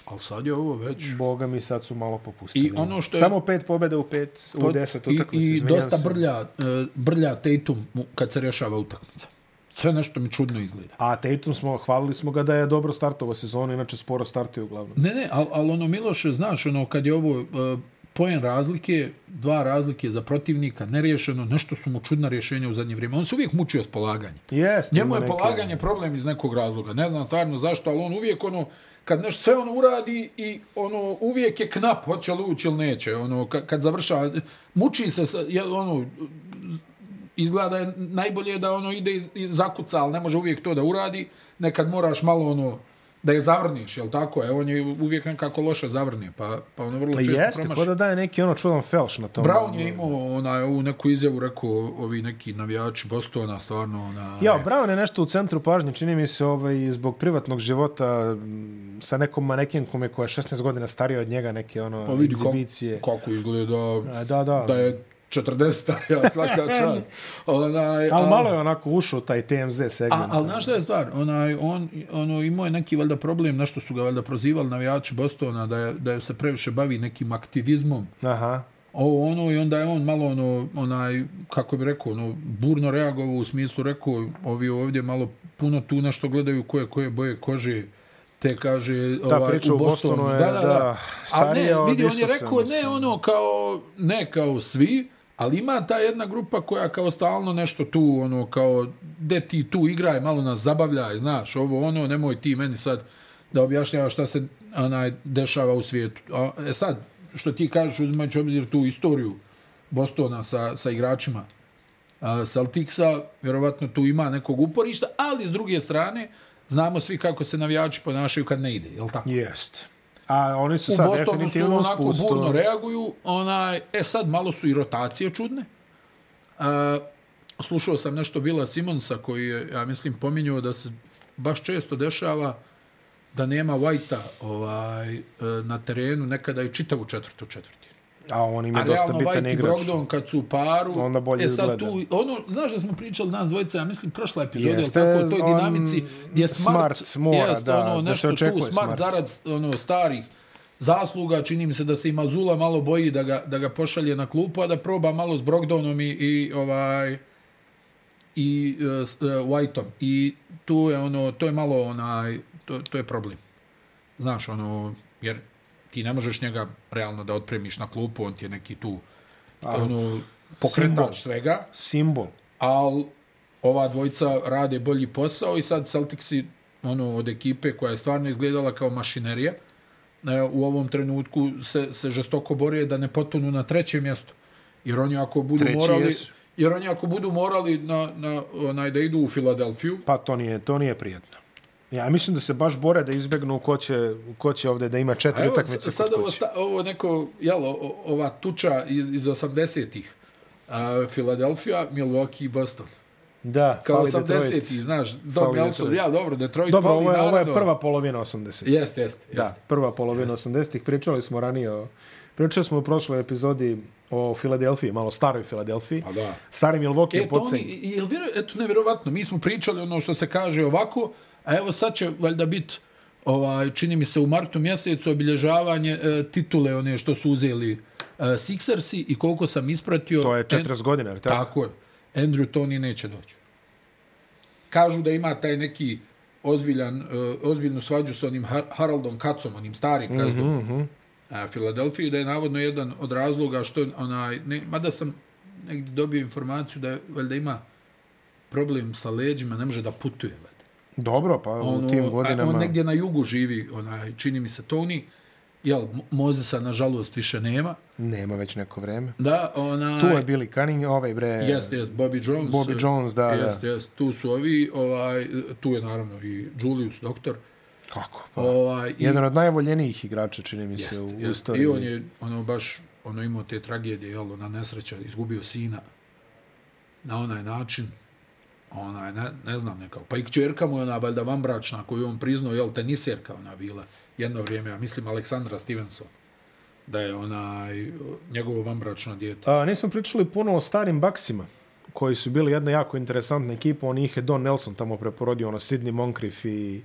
Speaker 2: Ali sad je ovo već...
Speaker 1: Boga mi sad su malo popustili.
Speaker 2: I ono što je-
Speaker 1: Samo pet pobjede u pet, u deset utakmice.
Speaker 2: I, i
Speaker 1: izvinjam
Speaker 2: dosta
Speaker 1: se.
Speaker 2: brlja, e, brlja Tatum mu- kad se rješava utakmica. Sve nešto mi čudno izgleda.
Speaker 1: A Tatum smo, hvalili smo ga da je dobro startovao sezonu, inače sporo startuje uglavnom.
Speaker 2: Ne, ne, ali al ono, Miloše, znaš, ono, kad je ovo e, poen razlike, dva razlike za protivnika, neriješeno, nešto su mu čudna rješenja u zadnje vrijeme. On se uvijek mučio s polaganjem.
Speaker 1: Jeste,
Speaker 2: Njemu
Speaker 1: ima
Speaker 2: je
Speaker 1: neke-
Speaker 2: polaganje problem iz nekog razloga. Ne znam stvarno zašto, ali on uvijek ono, kad nešto sve on uradi i ono uvijek je knap, hoće li ući ili neće. Ono, kad, kad završa, muči se, sa, je, ono, izgleda je najbolje da ono ide iz, iz zakuca, ali ne može uvijek to da uradi. Nekad moraš malo ono da je zavrniš, jel tako? E, on je uvijek nekako loše zavrne, pa, pa ono vrlo često
Speaker 1: Jeste,
Speaker 2: promaši.
Speaker 1: ko da daje neki ono čudan felš na tom.
Speaker 2: Brown je imao onaj, ovu neku izjavu, rekao ovi neki navijači Bostona, stvarno ona...
Speaker 1: Ja, Brown je nešto u centru pažnje, čini mi se ovaj, zbog privatnog života m, sa nekom manekinkom je koja je 16 godina starija od njega, neke ono pa
Speaker 2: vidi kako,
Speaker 1: egzibicije.
Speaker 2: kako izgleda,
Speaker 1: E, Da, da.
Speaker 2: da je 40 <laughs> starija
Speaker 1: <laughs>
Speaker 2: svaka čast. Onaj,
Speaker 1: Ali malo je onako ušao taj TMZ
Speaker 2: A,
Speaker 1: segment.
Speaker 2: ali znaš šta je stvar? Onaj, on, ono, imao je neki valjda problem, nešto su ga valjda prozivali navijači Bostona da, je, da je se previše bavi nekim aktivizmom.
Speaker 1: Aha.
Speaker 2: Ovo ono i onda je on malo ono, onaj, kako bi rekao, ono, burno reagovao u smislu rekao, ovi ovdje malo puno tu nešto gledaju koje, koje boje kože te kaže ovaj,
Speaker 1: Ta priča u Bostonu je, da, starija
Speaker 2: ali
Speaker 1: od
Speaker 2: ne, vidi, on je
Speaker 1: Isusa,
Speaker 2: rekao, ne
Speaker 1: mislim.
Speaker 2: ono kao, ne kao svi, ali ima ta jedna grupa koja kao stalno nešto tu, ono kao, de ti tu igraj, malo nas zabavljaj, znaš, ovo ono, nemoj ti meni sad da objašnjava šta se onaj, dešava u svijetu. A, e sad, što ti kažeš, uzimajući obzir tu istoriju Bostona sa, sa igračima, a, Celticsa, vjerovatno tu ima nekog uporišta, ali s druge strane, znamo svi kako se navijači ponašaju kad ne ide, jel tako?
Speaker 1: Jest. A oni su
Speaker 2: u
Speaker 1: sad
Speaker 2: Bostonu su
Speaker 1: definitivno
Speaker 2: onako burno
Speaker 1: uspustu.
Speaker 2: reaguju. Onaj, e sad, malo su i rotacije čudne. A, slušao sam nešto Bila Simonsa koji je, ja mislim, pominjao da se baš često dešava da nema Whitea ovaj, e, na terenu nekada i čitavu četvrtu četvrti.
Speaker 1: A on im
Speaker 2: A
Speaker 1: je dosta
Speaker 2: realno
Speaker 1: bitan
Speaker 2: White i
Speaker 1: igrač.
Speaker 2: Brogdon kad su u paru,
Speaker 1: Onda bolje
Speaker 2: e sad
Speaker 1: izgleda.
Speaker 2: tu, ono, znaš da smo pričali nas dvojica, ja mislim prošla epizoda,
Speaker 1: Jeste,
Speaker 2: Jeste, tako, o toj
Speaker 1: on-
Speaker 2: dinamici gdje smart,
Speaker 1: Smart mora,
Speaker 2: jest,
Speaker 1: da,
Speaker 2: ono,
Speaker 1: da
Speaker 2: nešto
Speaker 1: se očekuje
Speaker 2: tu, smart,
Speaker 1: Smart.
Speaker 2: zarad ono, starih zasluga, čini mi se da se i Mazula malo boji da ga, da ga pošalje na klupu, a da proba malo s Brogdonom i, i ovaj i uh, s- e, Whiteom. I tu je ono, to je malo onaj, to, to je problem. Znaš, ono, jer ti ne možeš njega realno da otpremiš na klupu, on ti je neki tu ono, pokretač
Speaker 1: simbol.
Speaker 2: svega,
Speaker 1: Simbol.
Speaker 2: ali ova dvojica rade bolji posao i sad Celticsi ono, od ekipe koja je stvarno izgledala kao mašinerija, e, u ovom trenutku se, se žestoko bore da ne potonu na treće mjesto. Jer oni ako budu
Speaker 1: Treći
Speaker 2: morali...
Speaker 1: jesu.
Speaker 2: Jer oni ako budu morali na, na, onaj, da idu u Filadelfiju,
Speaker 1: Pa to nije, to nije prijetno. Ja mislim da se baš bore da izbegnu ko će, ko će ovde da ima
Speaker 2: A
Speaker 1: četiri
Speaker 2: evo,
Speaker 1: utakmice
Speaker 2: s- sad
Speaker 1: kod
Speaker 2: ovo,
Speaker 1: kuće.
Speaker 2: sta, ovo neko, jel, o- o- ova tuča iz, iz 80-ih. A, Philadelphia, Milwaukee i Boston.
Speaker 1: Da,
Speaker 2: Kao
Speaker 1: fali Detroit.
Speaker 2: 80-ih, znaš, Don
Speaker 1: Fali
Speaker 2: Nelson,
Speaker 1: Detroit.
Speaker 2: ja, dobro, Detroit
Speaker 1: Dobro,
Speaker 2: fali,
Speaker 1: ovo je, ovo je
Speaker 2: naravno.
Speaker 1: prva polovina 80-ih.
Speaker 2: Jeste, jeste,
Speaker 1: Da,
Speaker 2: jeste.
Speaker 1: prva polovina 80-ih. Pričali smo ranije o... Pričali smo u prošloj epizodi o Filadelfiji, malo staroj Filadelfiji.
Speaker 2: Pa da.
Speaker 1: Stari Milwaukee
Speaker 2: E,
Speaker 1: je
Speaker 2: to oni,
Speaker 1: pocenjen.
Speaker 2: jel vjero, eto, nevjerovatno, mi smo pričali ono što se kaže ovako, a evo sad će valjda biti, ovaj, čini mi se, u martu mjesecu obilježavanje e, titule one što su uzeli e, Sixersi i koliko sam ispratio...
Speaker 1: To je
Speaker 2: en-
Speaker 1: 40 godina, jer tako?
Speaker 2: e, Tako je. Andrew Tony neće doći. Kažu da ima taj neki ozbiljan, uh, ozbiljnu svađu sa onim Har Haroldom Katzom, onim
Speaker 1: Mhm,
Speaker 2: starim gazdom mm -hmm. uh, Filadelfiji, da je navodno jedan od razloga što onaj, ne, mada sam negdje dobio informaciju da je, valjda ima problem sa leđima, ne može da putuje. Valjda.
Speaker 1: Dobro, pa u tim
Speaker 2: Ono, a
Speaker 1: godinama...
Speaker 2: On negdje na jugu živi, onaj, čini mi se Tony, jel, Mo- Mozesa nažalost više nema.
Speaker 1: Nema već neko vreme.
Speaker 2: Da, onaj,
Speaker 1: Tu je Billy Cunningham, ovaj bre...
Speaker 2: Jeste, jeste, Bobby Jones. eh,
Speaker 1: Bobby Jones, da, da.
Speaker 2: Jeste, jeste, tu su ovi, ovaj, tu je naravno i Julius, doktor.
Speaker 1: Kako? Pa,
Speaker 2: Ovaj, i,
Speaker 1: Jedan od najvoljenijih igrača, čini mi se,
Speaker 2: jeste,
Speaker 1: u
Speaker 2: jeste,
Speaker 1: istoriji.
Speaker 2: I on je, ono, baš, ono, imao te tragedije, jel, ona nesreća, izgubio sina na onaj način. Onaj, ne, ne znam nekako. Pa i kćerka mu je ona, valjda, vambračna, koju je on priznao, jel, teniserka ona bila. Jedno vrijeme, ja mislim, Aleksandra Stevenson da je onaj, njegovo vambračno dijete.
Speaker 1: A, nismo pričali puno o starim Baksima, koji su bili jedna jako interesantna ekipa. On ih je Don Nelson tamo preporodio, ono Sidney Moncrief i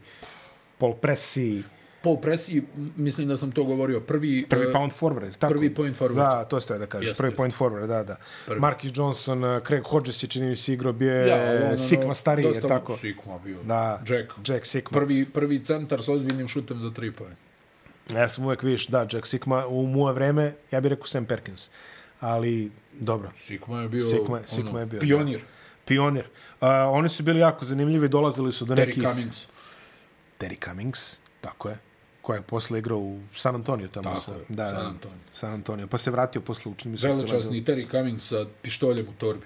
Speaker 1: Paul Pressey,
Speaker 2: Po presiji, m- mislim da sam to govorio, prvi...
Speaker 1: prvi
Speaker 2: e,
Speaker 1: pound forward, tako?
Speaker 2: prvi point forward.
Speaker 1: Da, to ste da kažeš,
Speaker 2: Jeste.
Speaker 1: prvi point forward, da, da. Prvi. Marcus Johnson, eh, Craig Hodges je čini mi se igro, bio je
Speaker 2: Ja, ali
Speaker 1: ja,
Speaker 2: ono,
Speaker 1: Sikma E, stariji, je
Speaker 2: dosta
Speaker 1: tako?
Speaker 2: Sikma bio.
Speaker 1: Da,
Speaker 2: Jack.
Speaker 1: Jack Sikma.
Speaker 2: Prvi, prvi centar s ozbiljnim šutem za tri pojene.
Speaker 1: Ja sam uvek vidiš, da, Jack Sikma u moje vreme, ja bih rekao Sam Perkins, ali dobro.
Speaker 2: Sikma je bio,
Speaker 1: Sikma, Sikma
Speaker 2: ono,
Speaker 1: je bio
Speaker 2: pionir.
Speaker 1: Da. Pionir. Uh, oni su bili jako zanimljivi, dolazili su do
Speaker 2: Terry
Speaker 1: nekih...
Speaker 2: Cummings.
Speaker 1: Terry Cummings, tako je. koja je posle igrao u San Antonio tamo.
Speaker 2: Tako
Speaker 1: sa,
Speaker 2: je,
Speaker 1: da,
Speaker 2: San
Speaker 1: da,
Speaker 2: Antonio.
Speaker 1: San Antonio. Pa se vratio posle učini mi se.
Speaker 2: Veličasni Terry Cummings sa pištoljem u torbi.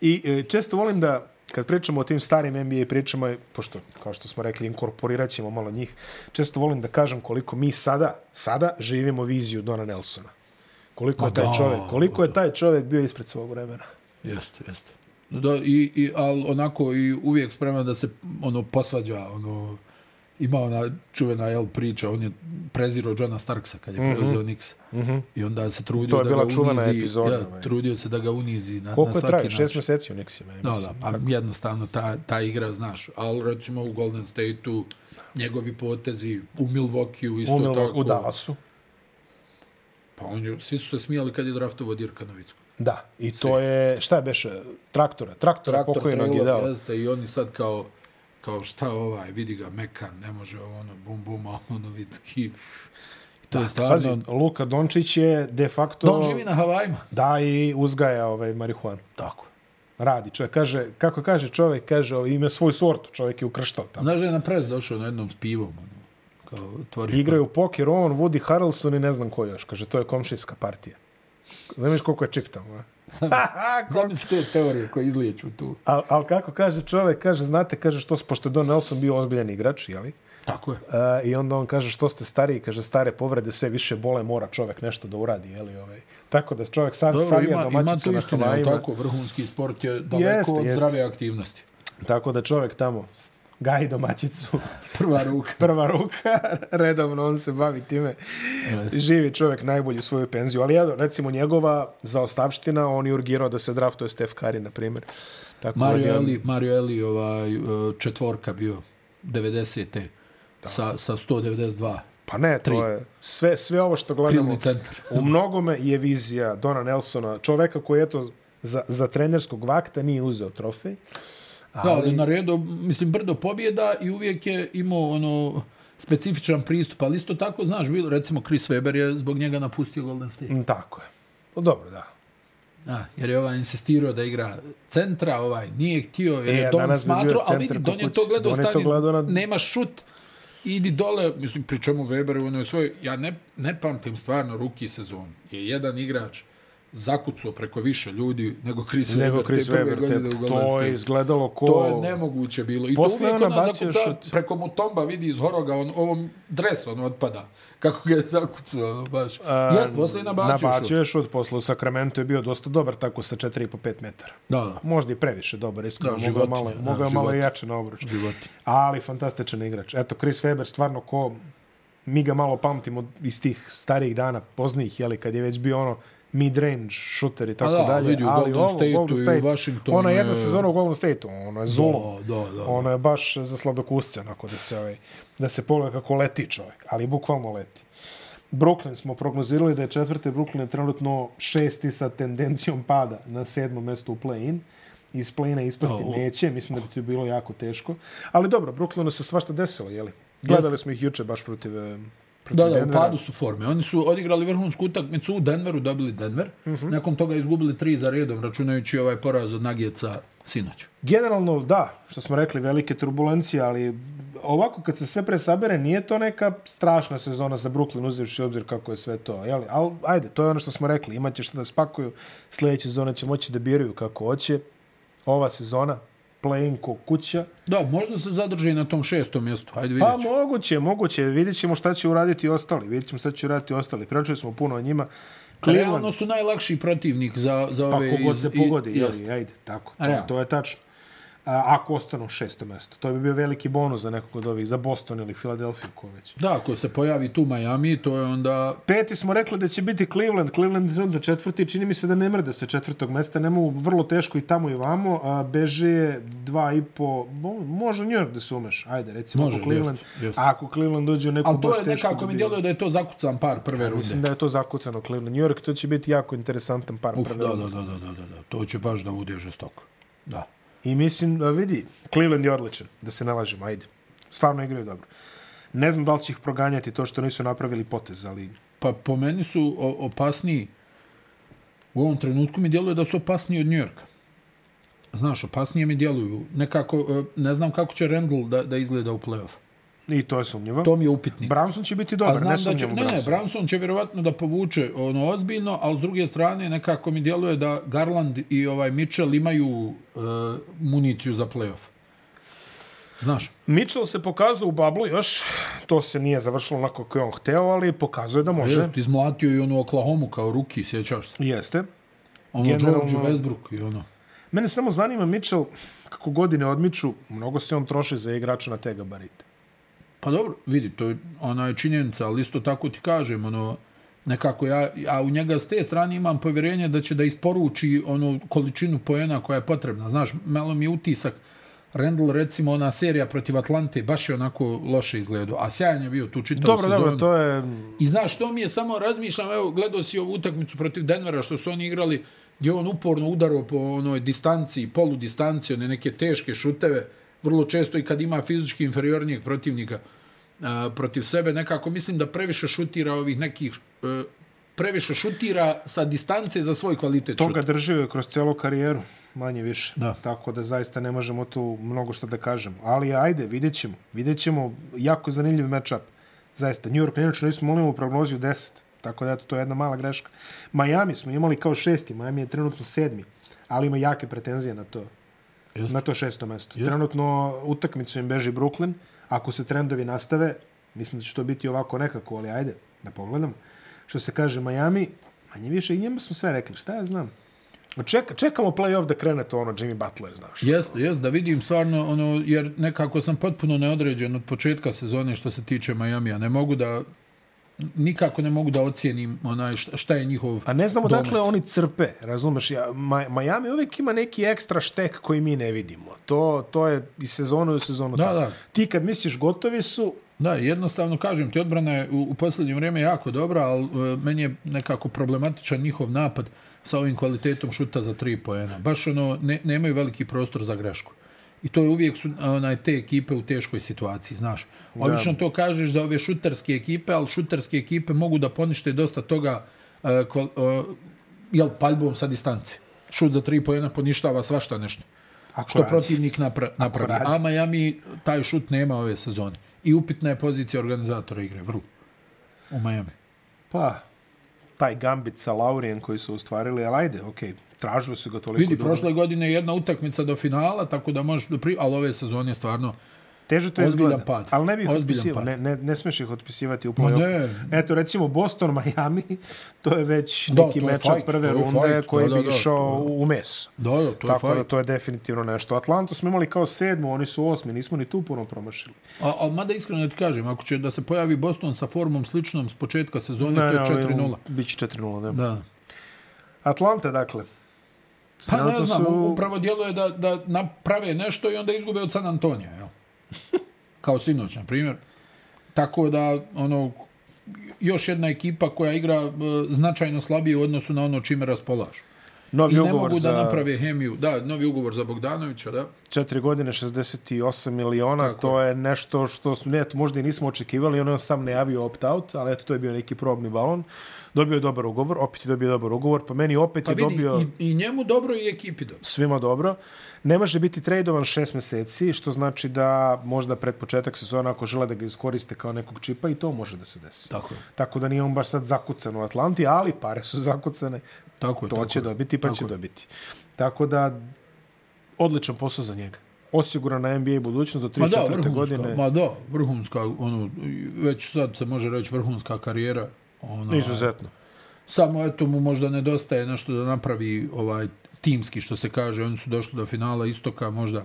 Speaker 1: I e, često volim da kad pričamo o tim starim NBA pričama, pošto, kao što smo rekli, inkorporirat ćemo malo njih, često volim da kažem koliko mi sada, sada živimo viziju Dona Nelsona. Koliko je taj
Speaker 2: da,
Speaker 1: čovjek, koliko je taj čovjek bio ispred svog vremena.
Speaker 2: Jeste, jeste. Da, i, i, ali onako i uvijek spreman da se ono posvađa, ono, ima ona čuvena jel, priča, on je prezirao Johna Starksa kad je preuzeo Knicks. Mm -hmm. I onda se trudio
Speaker 1: Mhm. To je
Speaker 2: da
Speaker 1: bila
Speaker 2: ga
Speaker 1: čuvena
Speaker 2: unizi.
Speaker 1: epizoda,
Speaker 2: da,
Speaker 1: ovaj.
Speaker 2: trudio se da ga unizi na,
Speaker 1: Koliko
Speaker 2: na
Speaker 1: je
Speaker 2: svaki
Speaker 1: trajao?
Speaker 2: način.
Speaker 1: Šest meseci u Nixima, ja
Speaker 2: Da,
Speaker 1: mislim.
Speaker 2: da, pa jednostavno ta, ta igra, znaš, ali recimo u Golden State-u, njegovi potezi, u Milwaukee-u isto
Speaker 1: U, Milo,
Speaker 2: tako.
Speaker 1: u Dallasu.
Speaker 2: Pa on je, svi su se smijali kad je draftovo Dirka Novicku.
Speaker 1: Da, i to je, šta je beše, traktora, traktora
Speaker 2: traktor
Speaker 1: pokojnog je
Speaker 2: trailer,
Speaker 1: dao.
Speaker 2: Jeste, I oni sad kao, kao šta ovaj, vidi ga Mekan, ne može ovo, ono, bum bum, a ono Novicki. To je stvarno...
Speaker 1: Pazi, Luka Dončić je de facto...
Speaker 2: on živi na Havajima.
Speaker 1: Da, i uzgaja ovaj marihuanu.
Speaker 2: Tako.
Speaker 1: Radi čovjek. Kaže, kako kaže čovjek, kaže, ovaj, ima svoju sortu. Čovjek je ukrštao tamo.
Speaker 2: Znaš da je na prez došao na jednom s pivom, ono, kao otvorio. <laughs>
Speaker 1: Igraju poker on, Woody Harrelson i ne znam ko još. Kaže, to je komšijska partija. Znaš koliko je čip tamo, a? <laughs>
Speaker 2: Zamisli- Zamisli te teorije koje izliječu tu.
Speaker 1: Al, al kako kaže čovjek, kaže, znate, kaže, što, s- pošto je Don Nelson bio ozbiljan igrač, jeli?
Speaker 2: Tako je.
Speaker 1: Uh, I onda on kaže što ste stariji, kaže stare povrede sve više bole, mora čovjek nešto da uradi, je li ovaj. Tako da čovjek sam
Speaker 2: Dobro,
Speaker 1: savija
Speaker 2: ima, ima
Speaker 1: domaćica
Speaker 2: tu
Speaker 1: na
Speaker 2: istinu, jel
Speaker 1: Havajima. Tako.
Speaker 2: tako, vrhunski sport je daleko
Speaker 1: Jeste,
Speaker 2: od
Speaker 1: jeste.
Speaker 2: zdrave aktivnosti.
Speaker 1: tako da čovjek tamo gaji domaćicu. <laughs>
Speaker 2: Prva ruka.
Speaker 1: prva ruka, <laughs> redovno on se bavi time.
Speaker 2: Jeste.
Speaker 1: Živi čovjek najbolju svoju penziju. Ali ja, recimo, njegova zaostavština, on je urgirao da se draftuje Stef Kari, na primjer. Tako da
Speaker 2: Mario
Speaker 1: bi on-
Speaker 2: Eli, Mario Eli ovaj, e, četvorka bio 90. Sa, sa 192.
Speaker 1: Pa ne, to je sve, sve ovo što gledamo.
Speaker 2: Krilni centar.
Speaker 1: U mnogome je vizija Dona Nelsona, čoveka koji je to za, za trenerskog vakta nije uzeo trofej.
Speaker 2: Da, ali na redu, mislim, brdo pobjeda i uvijek je imao ono specifičan pristup, ali isto tako, znaš, bilo, recimo Chris Weber je zbog njega napustio Golden State.
Speaker 1: Mm, Tako je. No, dobro, da.
Speaker 2: Da, jer je ovaj insistirao da igra centra, ovaj nije htio, jer
Speaker 1: E,
Speaker 2: je
Speaker 1: a
Speaker 2: Don
Speaker 1: danas bi bio
Speaker 2: smatrao, ali
Speaker 1: centar
Speaker 2: vidi,
Speaker 1: ko
Speaker 2: Don je
Speaker 1: kući.
Speaker 2: to gledao,
Speaker 1: Don je to
Speaker 2: stani,
Speaker 1: gledao na-
Speaker 2: nema šut, idi dole, mislim, pri čemu Weber u onoj svoj, ja ne, ne pamtim stvarno ruki sezon, je jedan igrač zakucao preko više ljudi nego Chris
Speaker 1: Nego
Speaker 2: Weber
Speaker 1: Chris
Speaker 2: te prve
Speaker 1: Weber,
Speaker 2: godine u
Speaker 1: te,
Speaker 2: Golden
Speaker 1: to
Speaker 2: State.
Speaker 1: je izgledalo ko...
Speaker 2: To je nemoguće bilo. I
Speaker 1: Posle
Speaker 2: to uvijek
Speaker 1: ona
Speaker 2: ona
Speaker 1: bacio
Speaker 2: zakuca,
Speaker 1: šut.
Speaker 2: preko mu tomba vidi iz horoga, on ovom dres on otpada. Kako ga je zakucao, ono, baš. Uh, Jes, posle je nabacio,
Speaker 1: Nabacio
Speaker 2: šut.
Speaker 1: je šut, posle u Sakramentu je bio dosta dobar, tako sa 4,5-5 metara.
Speaker 2: Da, da.
Speaker 1: Možda i previše dobar, iskreno.
Speaker 2: Da,
Speaker 1: Da, mogao je
Speaker 2: životinja,
Speaker 1: malo,
Speaker 2: da,
Speaker 1: mogao je malo
Speaker 2: životinja.
Speaker 1: jače na obruč.
Speaker 2: Životinja.
Speaker 1: Ali fantastičan igrač. Eto, Chris Weber stvarno ko... Mi ga malo pamtimo iz tih starijih dana, poznijih, jeli, kad je već bio ono mid-range šuter i tako
Speaker 2: Pa da,
Speaker 1: dalje.
Speaker 2: vidi, u Golden
Speaker 1: ovo,
Speaker 2: Stateu i u Washingtonu
Speaker 1: Ona je jedna
Speaker 2: je-
Speaker 1: sezona u Golden Stateu, ona je zulom.
Speaker 2: Da, da, da.
Speaker 1: Ono je baš za sladokusce, onako, da se, ovaj, da se pogleda kako leti čovjek, ali bukvalno leti. Brooklyn smo prognozirali da je četvrte, Brooklyn je trenutno šesti sa tendencijom pada na sedmo mesto u play-in. Iz play-ina ispasti
Speaker 2: A, u-
Speaker 1: neće, mislim da bi to bilo jako teško. Ali dobro, Brooklynu se svašta desilo, jeli? Gledali smo ih juče baš protiv, eh, protiv
Speaker 2: Da, da, u
Speaker 1: Denvera.
Speaker 2: padu su forme. Oni su odigrali vrhunsku utakmicu u Denveru, dobili Denver.
Speaker 1: Mhm.
Speaker 2: Nakon toga izgubili tri za redom, računajući ovaj poraz od Nagijeca sinoć.
Speaker 1: Generalno, da, što smo rekli, velike turbulencije, ali ovako kad se sve presabere, nije to neka strašna sezona za Brooklyn, uzevši u obzir kako je sve to. Jeli? Ali, ajde, to je ono što smo rekli, imaće što da spakuju, sljedeće sezone će moći da biraju kako hoće. Ova sezona, play-in ko kuća,
Speaker 2: Da, možda se zadrži i na tom šestom mjestu. Hajde vidjet
Speaker 1: Pa
Speaker 2: ćemo.
Speaker 1: moguće, moguće. Vidjet ćemo šta će uraditi i ostali. Vidjet ćemo šta će uraditi i ostali. Pričali smo puno o njima. Cleveland,
Speaker 2: Realno su najlakši protivnik za, za
Speaker 1: pa
Speaker 2: ove...
Speaker 1: kogod
Speaker 2: iz-
Speaker 1: se
Speaker 2: i-
Speaker 1: pogodi,
Speaker 2: jeste.
Speaker 1: jeli, ajde, tako. To,
Speaker 2: Realno.
Speaker 1: to je tačno. A, ako ostanu šesto mesto. To bi bio veliki bonus za nekog od ovih, za Boston ili Filadelfiju, ko već.
Speaker 2: Da, ako se pojavi tu Miami, to je onda...
Speaker 1: Peti smo rekli da će biti Cleveland. Cleveland je trenutno četvrti. Čini mi se da ne mrde sa četvrtog mesta. Nemu vrlo teško i tamo i vamo. A, Beže je dva i po... mo- Može New York da se umeš. Ajde, recimo.
Speaker 2: Može,
Speaker 1: ako Cleveland,
Speaker 2: jeste, jeste.
Speaker 1: Ako Cleveland dođe u neku
Speaker 2: Ali to
Speaker 1: baš
Speaker 2: je
Speaker 1: tešku
Speaker 2: nekako mi
Speaker 1: dobiju.
Speaker 2: djeluje da je to zakucan par prve runde.
Speaker 1: Mislim da je to zakucano Cleveland. New York, to će biti jako interesantan par
Speaker 2: Uf,
Speaker 1: prve
Speaker 2: da, da,
Speaker 1: runde.
Speaker 2: da, da, da, da, da. To će baš da bude žestoko. Da.
Speaker 1: I mislim, a vidi, Cleveland je odličan, da se nalažemo, ajde. Stvarno igraju dobro. Ne znam da li će ih proganjati to što nisu napravili potez, ali
Speaker 2: Pa po meni su o- opasniji, u ovom trenutku mi djeluje da su opasniji od Njujorka. Znaš, opasnije mi djeluju. Nekako, e, ne znam kako će Randall da, da izgleda u play-off.
Speaker 1: I to je sumnjivo.
Speaker 2: To mi je upitnik.
Speaker 1: Branson će biti
Speaker 2: A
Speaker 1: dobar, ne
Speaker 2: znam da će,
Speaker 1: sumnjamo
Speaker 2: ne, ne, Branson će vjerovatno da povuče ono ozbiljno, ali s druge strane nekako mi djeluje da Garland i ovaj Mitchell imaju uh, municiju za playoff. Znaš,
Speaker 1: Mitchell se pokazao u bablu još, to se nije završilo onako kako je on hteo, ali pokazuje da može.
Speaker 2: jest, izmlatio i ono Oklahoma kao ruki, sjećaš se.
Speaker 1: Jeste.
Speaker 2: Ono
Speaker 1: Generalno-
Speaker 2: George Westbrook i ono.
Speaker 1: Mene samo zanima Mitchell, kako godine odmiču, mnogo se on troši za igrača na te gabarite.
Speaker 2: Pa dobro, vidi, to je ona je činjenica, ali isto tako ti kažem, ono, nekako ja, ja u njega s te strane imam povjerenje da će da isporuči ono količinu poena koja je potrebna. Znaš, malo mi je utisak, Randall recimo ona serija protiv Atlante baš je onako loše izgledao, a sjajan je bio tu čitavu
Speaker 1: Dobro,
Speaker 2: sezonu.
Speaker 1: dobro, to je...
Speaker 2: I znaš što mi je samo razmišljam, evo gledao si ovu utakmicu protiv Denvera što su oni igrali gdje je on uporno udarao po onoj distanciji, polu distanciji, one neke teške šuteve, vrlo često i kad ima fizički inferiornijeg protivnika a, protiv sebe, nekako mislim da previše šutira ovih nekih e, previše šutira sa distance za svoj kvalitet
Speaker 1: To
Speaker 2: šuta.
Speaker 1: ga držio je kroz celu karijeru, manje više.
Speaker 2: Da.
Speaker 1: Tako da zaista ne možemo tu mnogo što da kažemo. Ali ajde, vidjet ćemo. Vidjet ćemo, jako zanimljiv matchup. Zaista, New York inače nismo molimo u prognozi u 10. Tako da, eto, to je jedna mala greška. Miami smo imali kao šesti, Miami je trenutno sedmi, ali ima jake pretenzije na to.
Speaker 2: Jeste.
Speaker 1: Na to šesto mesto. Trenutno utakmicu im beži Brooklyn. Ako se trendovi nastave, mislim da će to biti ovako nekako, ali ajde, da pogledamo. Što se kaže Miami, manje više i njemu smo sve rekli, šta ja znam. Ma Ček, čekamo play-off da krene to ono Jimmy Butler, znaš.
Speaker 2: Jeste, jeste, da vidim stvarno, ono, jer nekako sam potpuno neodređen od početka sezone što se tiče Majamija. Ne mogu da, nikako ne mogu da ocijenim onaj šta, šta je njihov
Speaker 1: A ne znamo
Speaker 2: domet.
Speaker 1: dakle oni crpe, razumeš? Ja, Ma, Miami uvek ima neki ekstra štek koji mi ne vidimo. To, to je iz sezonu u sezonu.
Speaker 2: Da,
Speaker 1: tako.
Speaker 2: da.
Speaker 1: Ti kad misliš gotovi su,
Speaker 2: Da, jednostavno kažem ti, odbrana je u, u posljednje vrijeme jako dobra, ali e, meni je nekako problematičan njihov napad sa ovim kvalitetom šuta za tri poena. Baš ono, ne, nemaju veliki prostor za grešku. I to je uvijek su onaj, te ekipe u teškoj situaciji, znaš. Obično to kažeš za ove šutarske ekipe, ali šutarske ekipe mogu da ponište dosta toga e, kval, e, jel, paljbom sa distance. Šut za tri poena poništava svašta nešto
Speaker 1: ako
Speaker 2: što
Speaker 1: radi.
Speaker 2: protivnik napra napravi.
Speaker 1: radi.
Speaker 2: A Miami taj šut nema ove sezone. I upitna je pozicija organizatora igre, vrlo. U Miami.
Speaker 1: Pa, taj gambit sa Laurijem koji su ostvarili, ali ajde, okej, tražili su ga toliko
Speaker 2: Vidi,
Speaker 1: dugo.
Speaker 2: prošle godine je jedna utakmica do finala, tako da možeš da pri... Ali ove sezone je stvarno...
Speaker 1: Teže to
Speaker 2: ozbiljan
Speaker 1: izgleda,
Speaker 2: pad.
Speaker 1: ali ne bih ih
Speaker 2: Ozbiljan
Speaker 1: otpisivao,
Speaker 2: pad.
Speaker 1: ne, ne, ne smiješ ih otpisivati u play-offu.
Speaker 2: ne.
Speaker 1: Eto, recimo Boston, <laughs> Miami, to je već
Speaker 2: Da,
Speaker 1: neki
Speaker 2: to je
Speaker 1: meča
Speaker 2: fight,
Speaker 1: prve
Speaker 2: to je
Speaker 1: runde
Speaker 2: fight,
Speaker 1: koji
Speaker 2: da,
Speaker 1: bi
Speaker 2: da, da,
Speaker 1: išao u meso.
Speaker 2: Da, da, to je
Speaker 1: Tako da
Speaker 2: fajt.
Speaker 1: to je definitivno nešto. Atlantu smo imali kao sedmu, oni su osmi, nismo ni tu puno promašili.
Speaker 2: A, ali mada iskreno da ti kažem, ako će da se pojavi Boston sa formom sličnom s početka sezone, to je 4-0.
Speaker 1: Biće 4-0, da.
Speaker 2: Da.
Speaker 1: Atlante, dakle.
Speaker 2: Pa ne
Speaker 1: Trenutno
Speaker 2: znam,
Speaker 1: su-
Speaker 2: su... upravo djeluje da, da naprave nešto i onda izgube od San Antonija,
Speaker 1: <laughs>
Speaker 2: jel? Kao sinoć, na primjer. Tako da, ono, još jedna ekipa koja igra e, značajno slabije u odnosu na ono čime raspolažu.
Speaker 1: Novi
Speaker 2: I ne
Speaker 1: ugovor
Speaker 2: mogu
Speaker 1: za
Speaker 2: da naprave hemiju. Da, novi ugovor za Bogdanovića, da.
Speaker 1: četiri godine 68 miliona,
Speaker 2: Tako
Speaker 1: to je nešto što smo, ne, eto, možda i nismo očekivali, on je sam najavio opt-out, ali eto, to je bio neki probni balon. Dobio je dobar ugovor, opet je dobio dobar ugovor, pa meni opet
Speaker 2: Pa
Speaker 1: je
Speaker 2: vidi,
Speaker 1: dobio
Speaker 2: i, i njemu dobro i ekipi dobro.
Speaker 1: svima dobro. Ne može biti tradovan šest meseci, što znači da možda pred početak sezona, ako žele da ga iskoriste kao nekog čipa, i to može da se desi.
Speaker 2: Tako je.
Speaker 1: Tako da nije on baš sad zakucan u Atlanti, ali pare su zakucane.
Speaker 2: Tako je,
Speaker 1: To
Speaker 2: tako
Speaker 1: će
Speaker 2: je.
Speaker 1: dobiti, pa
Speaker 2: Tako
Speaker 1: će
Speaker 2: je.
Speaker 1: dobiti. Tako da, odličan posao za njega. Osigurana NBA budućnost do
Speaker 2: Ma da,
Speaker 1: 3-4.
Speaker 2: vrhunska,
Speaker 1: godine.
Speaker 2: ma da, vrhunska, ono, već sad se može reći vrhunska karijera. ono, Ona,
Speaker 1: Izuzetno.
Speaker 2: Samo eto mu možda nedostaje nešto da napravi ovaj timski što se kaže, oni su došli do finala istoka, možda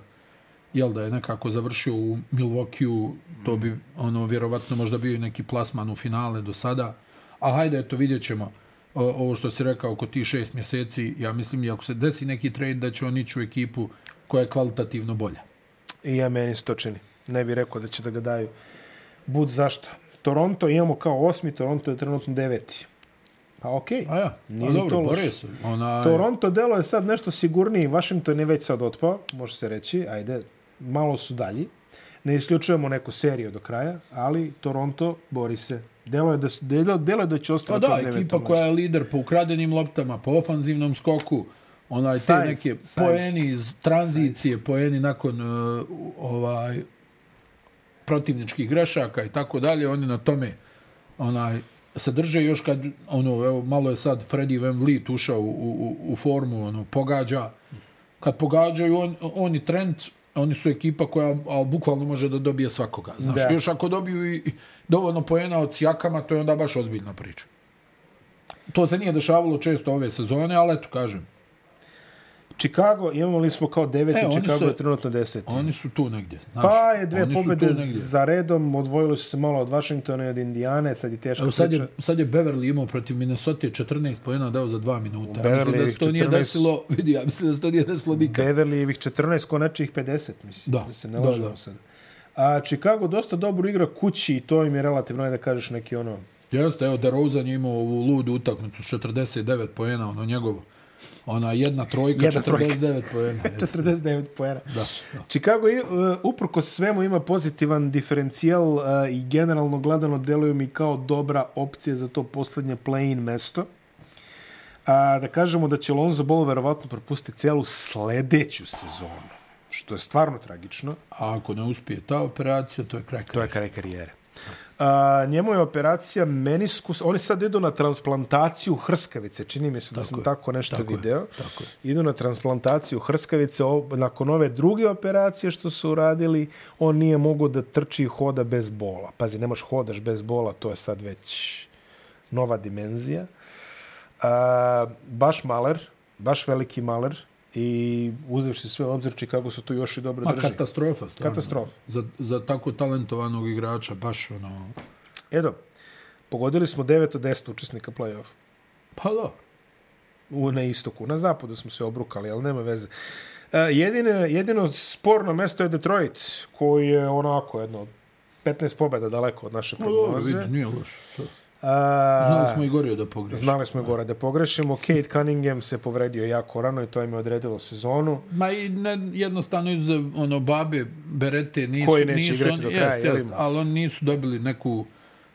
Speaker 2: jel da je nekako završio u Milwaukee, to bi ono vjerovatno možda bio i neki plasman u finale do sada. A hajde eto vidjet ćemo O- ovo što si rekao oko ti šest mjeseci, ja mislim i ako se desi neki trade da će on ići u ekipu koja je kvalitativno bolja.
Speaker 1: I ja meni se to čini. Ne bih rekao da će da ga daju. Bud zašto. Toronto imamo kao osmi, Toronto je trenutno deveti. Pa okej.
Speaker 2: A ja,
Speaker 1: Nije
Speaker 2: a
Speaker 1: ni
Speaker 2: dobro,
Speaker 1: to loše.
Speaker 2: bore se. Ona,
Speaker 1: Toronto delo je sad nešto sigurniji, Washington je već sad otpao, može se reći, ajde, malo su dalji. Ne isključujemo neku seriju do kraja, ali Toronto bori se. Delo je da, s- delo, delo je da će
Speaker 2: Pa
Speaker 1: ostati
Speaker 2: da, ekipa koja je lider po ukradenim loptama, po ofanzivnom skoku, onaj te
Speaker 1: Size,
Speaker 2: neke
Speaker 1: size.
Speaker 2: e, poeni iz tranzicije, poeni nakon uh, ovaj protivničkih grešaka i tako dalje, oni na tome onaj se drže još kad ono evo malo je sad Freddy Van Vliet ušao u, u, u formu, ono pogađa. Kad pogađaju on, oni trend, oni su ekipa koja a, bukvalno može da dobije svakoga, znaš.
Speaker 1: Da.
Speaker 2: Da. Još ako dobiju i dovoljno poena od Sjakama, to je onda baš ozbiljna priča. To se nije dešavalo često ove sezone, ali eto kažem,
Speaker 1: Chicago, imamo li smo kao deveti,
Speaker 2: E, oni
Speaker 1: Chicago
Speaker 2: su-
Speaker 1: je trenutno deseti.
Speaker 2: oni su tu negdje, znaš.
Speaker 1: Pa je dve
Speaker 2: Oni su tu
Speaker 1: pobjede
Speaker 2: negdje.
Speaker 1: za redom, odvojili su se malo od Washingtona i od Indijane, sad je teška
Speaker 2: Evo sad
Speaker 1: priča.
Speaker 2: je, sad je Beverly imao protiv Minnesota 14 pojena dao za 2 minuta. Ja mislim da
Speaker 1: Beverlyjevih
Speaker 2: se to nije
Speaker 1: 14.
Speaker 2: desilo, <laughs> vidi, ja mislim da se to nije desilo nikad.
Speaker 1: Beverlyjevih 14, konačnih 50, mislim, da,
Speaker 2: Da,
Speaker 1: da se ne
Speaker 2: da,
Speaker 1: lažemo
Speaker 2: da.
Speaker 1: sad. A Chicago dosta dobro igra kući i to im je relativno, ajde da kažeš, neki ono...
Speaker 2: Jeste, evo DeRozan je imao ovu ludu utakmicu s 49 pojena, ono njegovo. Ona jedna
Speaker 1: Jedna
Speaker 2: trojka, jedna
Speaker 1: trojka.
Speaker 2: 49 pojena. <laughs> jeste.
Speaker 1: 49 poena.
Speaker 2: Da,
Speaker 1: Chicago, i, uh, uprko svemu, ima pozitivan diferencijal uh, i generalno gledano deluju mi kao dobra opcija za to posljednje play-in mesto. A, da kažemo da će Lonzo Ball verovatno propustiti celu sledeću sezonu, što je stvarno tragično.
Speaker 2: A ako ne uspije ta operacija, to je kraj.
Speaker 1: To je kraj karijere. A, njemu je operacija meniskus, oni sad idu na transplantaciju hrskavice, čini mi se da tako sam je, tako nešto tako video. Je, tako idu na transplantaciju hrskavice, o, nakon ove druge operacije što su uradili, on nije mogao da trči i hoda bez bola. Pazi, ne možeš hodaš bez bola, to je sad već nova dimenzija. A, baš maler, baš veliki maler i uzevši sve u obzir Chicago su tu još i dobro
Speaker 2: Ma
Speaker 1: drži.
Speaker 2: katastrofa, stvarno.
Speaker 1: Katastrofa.
Speaker 2: Za, za tako talentovanog igrača, baš ono...
Speaker 1: Edo, E, pogodili smo 9 od 10 učesnika play-off.
Speaker 2: Pa da,
Speaker 1: U, na istoku. Na zapadu smo se obrukali, ali nema veze. E, jedino, jedino sporno mesto je Detroit, koji je onako jedno 15 pobjeda daleko od naše
Speaker 2: pa dobro,
Speaker 1: prognoze.
Speaker 2: vidi, nije loš. To- Znali
Speaker 1: A,
Speaker 2: smo i Gorio da pogreši.
Speaker 1: znali smo i gore da pogrešimo. Kate Cunningham se povredio jako rano i to im je odredilo sezonu.
Speaker 2: Ma i ne, jednostavno izuzev ono babe Berete nisu
Speaker 1: Koji neće
Speaker 2: nisu
Speaker 1: igrati
Speaker 2: oni-
Speaker 1: do kraja,
Speaker 2: jest,
Speaker 1: jel
Speaker 2: jest,
Speaker 1: ima?
Speaker 2: ali oni nisu dobili neku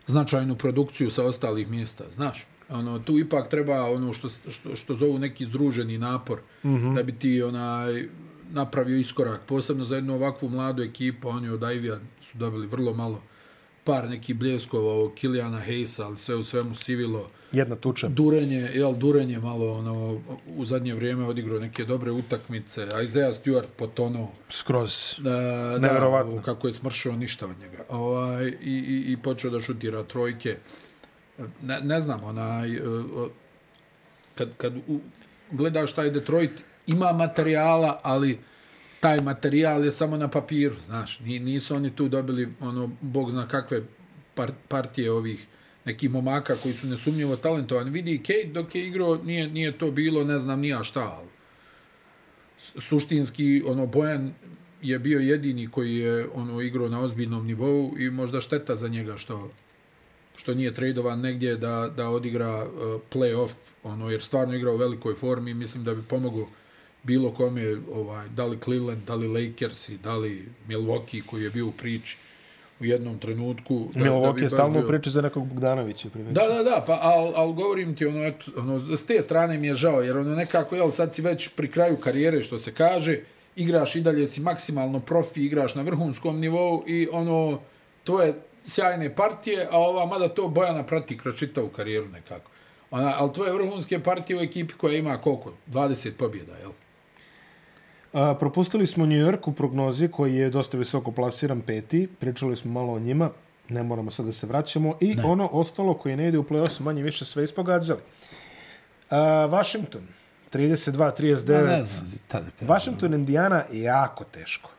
Speaker 2: značajnu produkciju sa ostalih mjesta, znaš. Ono tu ipak treba ono što što što zovu neki združeni napor mm
Speaker 1: Mhm.
Speaker 2: -hmm. da bi ti onaj napravio iskorak, posebno za jednu ovakvu mladu ekipu, oni od Ivija su dobili vrlo malo par neki bljeskova ovog Kilijana Hejsa, ali sve u svemu Sivilo,
Speaker 1: Jedna tuča.
Speaker 2: Durenje, jel, Durenje malo ono, u zadnje vrijeme odigrao neke dobre utakmice. Isaiah Stewart potonuo.
Speaker 1: Skroz.
Speaker 2: Da,
Speaker 1: Neverovatno.
Speaker 2: Da, kako je smršao ništa od njega. Ovaj, i, i, I počeo da šutira trojke. Ne, ne znam, onaj, eh, eh, kad, kad u, gledaš taj Detroit, ima materijala, ali taj materijal je samo na papiru, znaš. Ni- Nisu oni tu dobili, ono, bog zna kakve par, partije ovih nekih momaka koji su nesumnjivo talentovani. Vidi, i Kate dok je igrao, nije, nije to bilo, ne znam, nija šta, ali suštinski ono Bojan je bio jedini koji je ono igrao na ozbiljnom nivou i možda šteta za njega što što nije tradovan negdje da da odigra uh, play-off ono jer stvarno igra u velikoj formi i mislim da bi pomogao bilo kome ovaj da li Cleveland, da li Lakers i da li Milwaukee koji je bio u priči u jednom trenutku da, da
Speaker 1: Milwaukee
Speaker 2: bi
Speaker 1: je
Speaker 2: baš
Speaker 1: stalno u
Speaker 2: bio-
Speaker 1: priči za nekog Bogdanovića. primjer.
Speaker 2: Da, da, da, pa al, al govorim ti, ono, eto, ono, s te strane mi je žao, jer ono nekako, jel, sad si već pri kraju karijere, što se kaže, igraš i dalje, si maksimalno profi, igraš na vrhunskom nivou i ono, tvoje sjajne partije, a ova, mada to Bojana prati kroz čitavu karijeru nekako. Ona, ali tvoje vrhunske partije u ekipi koja ima koliko? 20 pobjeda, jel?
Speaker 1: A, propustili smo New York u prognozi koji je dosta visoko plasiran peti. Pričali smo malo o njima. Ne moramo sad da se vraćamo. I ne. ono ostalo koje ne ide u play-off su manje više sve ispogađali. A, Washington. 32-39.
Speaker 2: tada
Speaker 1: Washington, Indiana, jako teško.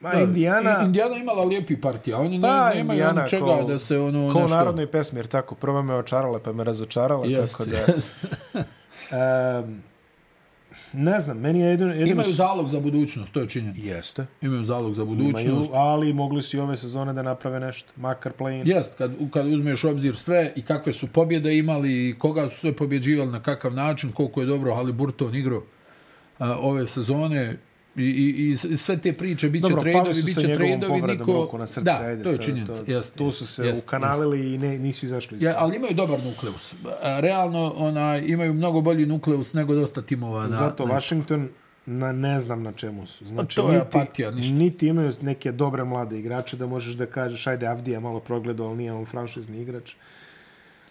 Speaker 1: Ma, Indiana...
Speaker 2: Indiana imala lijepi partija, oni
Speaker 1: Pa,
Speaker 2: ne, nemaju ono čega
Speaker 1: kao-
Speaker 2: da se ono
Speaker 1: Kao u
Speaker 2: nešto...
Speaker 1: narodnoj pesmi, jer tako, prva me očarala pa me razočarala,
Speaker 2: Jeste.
Speaker 1: tako da... Um, ne znam, meni je jedino... jedino
Speaker 2: Imaju zalog za budućnost, to je činjenica.
Speaker 1: Jeste.
Speaker 2: Imaju zalog za
Speaker 1: Imaju,
Speaker 2: budućnost.
Speaker 1: ali mogli su i ove sezone da naprave nešto, makar play-in.
Speaker 2: Jest, kad, kad uzmeš u obzir sve i kakve su pobjede imali i koga su sve pobjeđivali, na kakav način, koliko je dobro Haliburton igrao a, ove sezone i, i, i s- sve te priče, bit će
Speaker 1: Dobro, pali
Speaker 2: tradeovi,
Speaker 1: su
Speaker 2: bit
Speaker 1: sa
Speaker 2: će
Speaker 1: njegovom
Speaker 2: tradeovi,
Speaker 1: povredom
Speaker 2: niko...
Speaker 1: niko... ruku na srce.
Speaker 2: da,
Speaker 1: ajde,
Speaker 2: to je
Speaker 1: sad,
Speaker 2: činjenica.
Speaker 1: To,
Speaker 2: jest,
Speaker 1: tu su se
Speaker 2: jest,
Speaker 1: ukanalili i ne, nisu izašli iz
Speaker 2: Ja, ali imaju dobar nukleus. A, Realno ona, imaju mnogo bolji nukleus nego dosta timova. Na,
Speaker 1: Zato
Speaker 2: na
Speaker 1: Washington na ne znam na čemu su. Znači,
Speaker 2: to je apatija, ništa.
Speaker 1: niti imaju neke dobre mlade igrače da možeš da kažeš ajde Avdija je malo progledao, ali nije on franšizni igrač.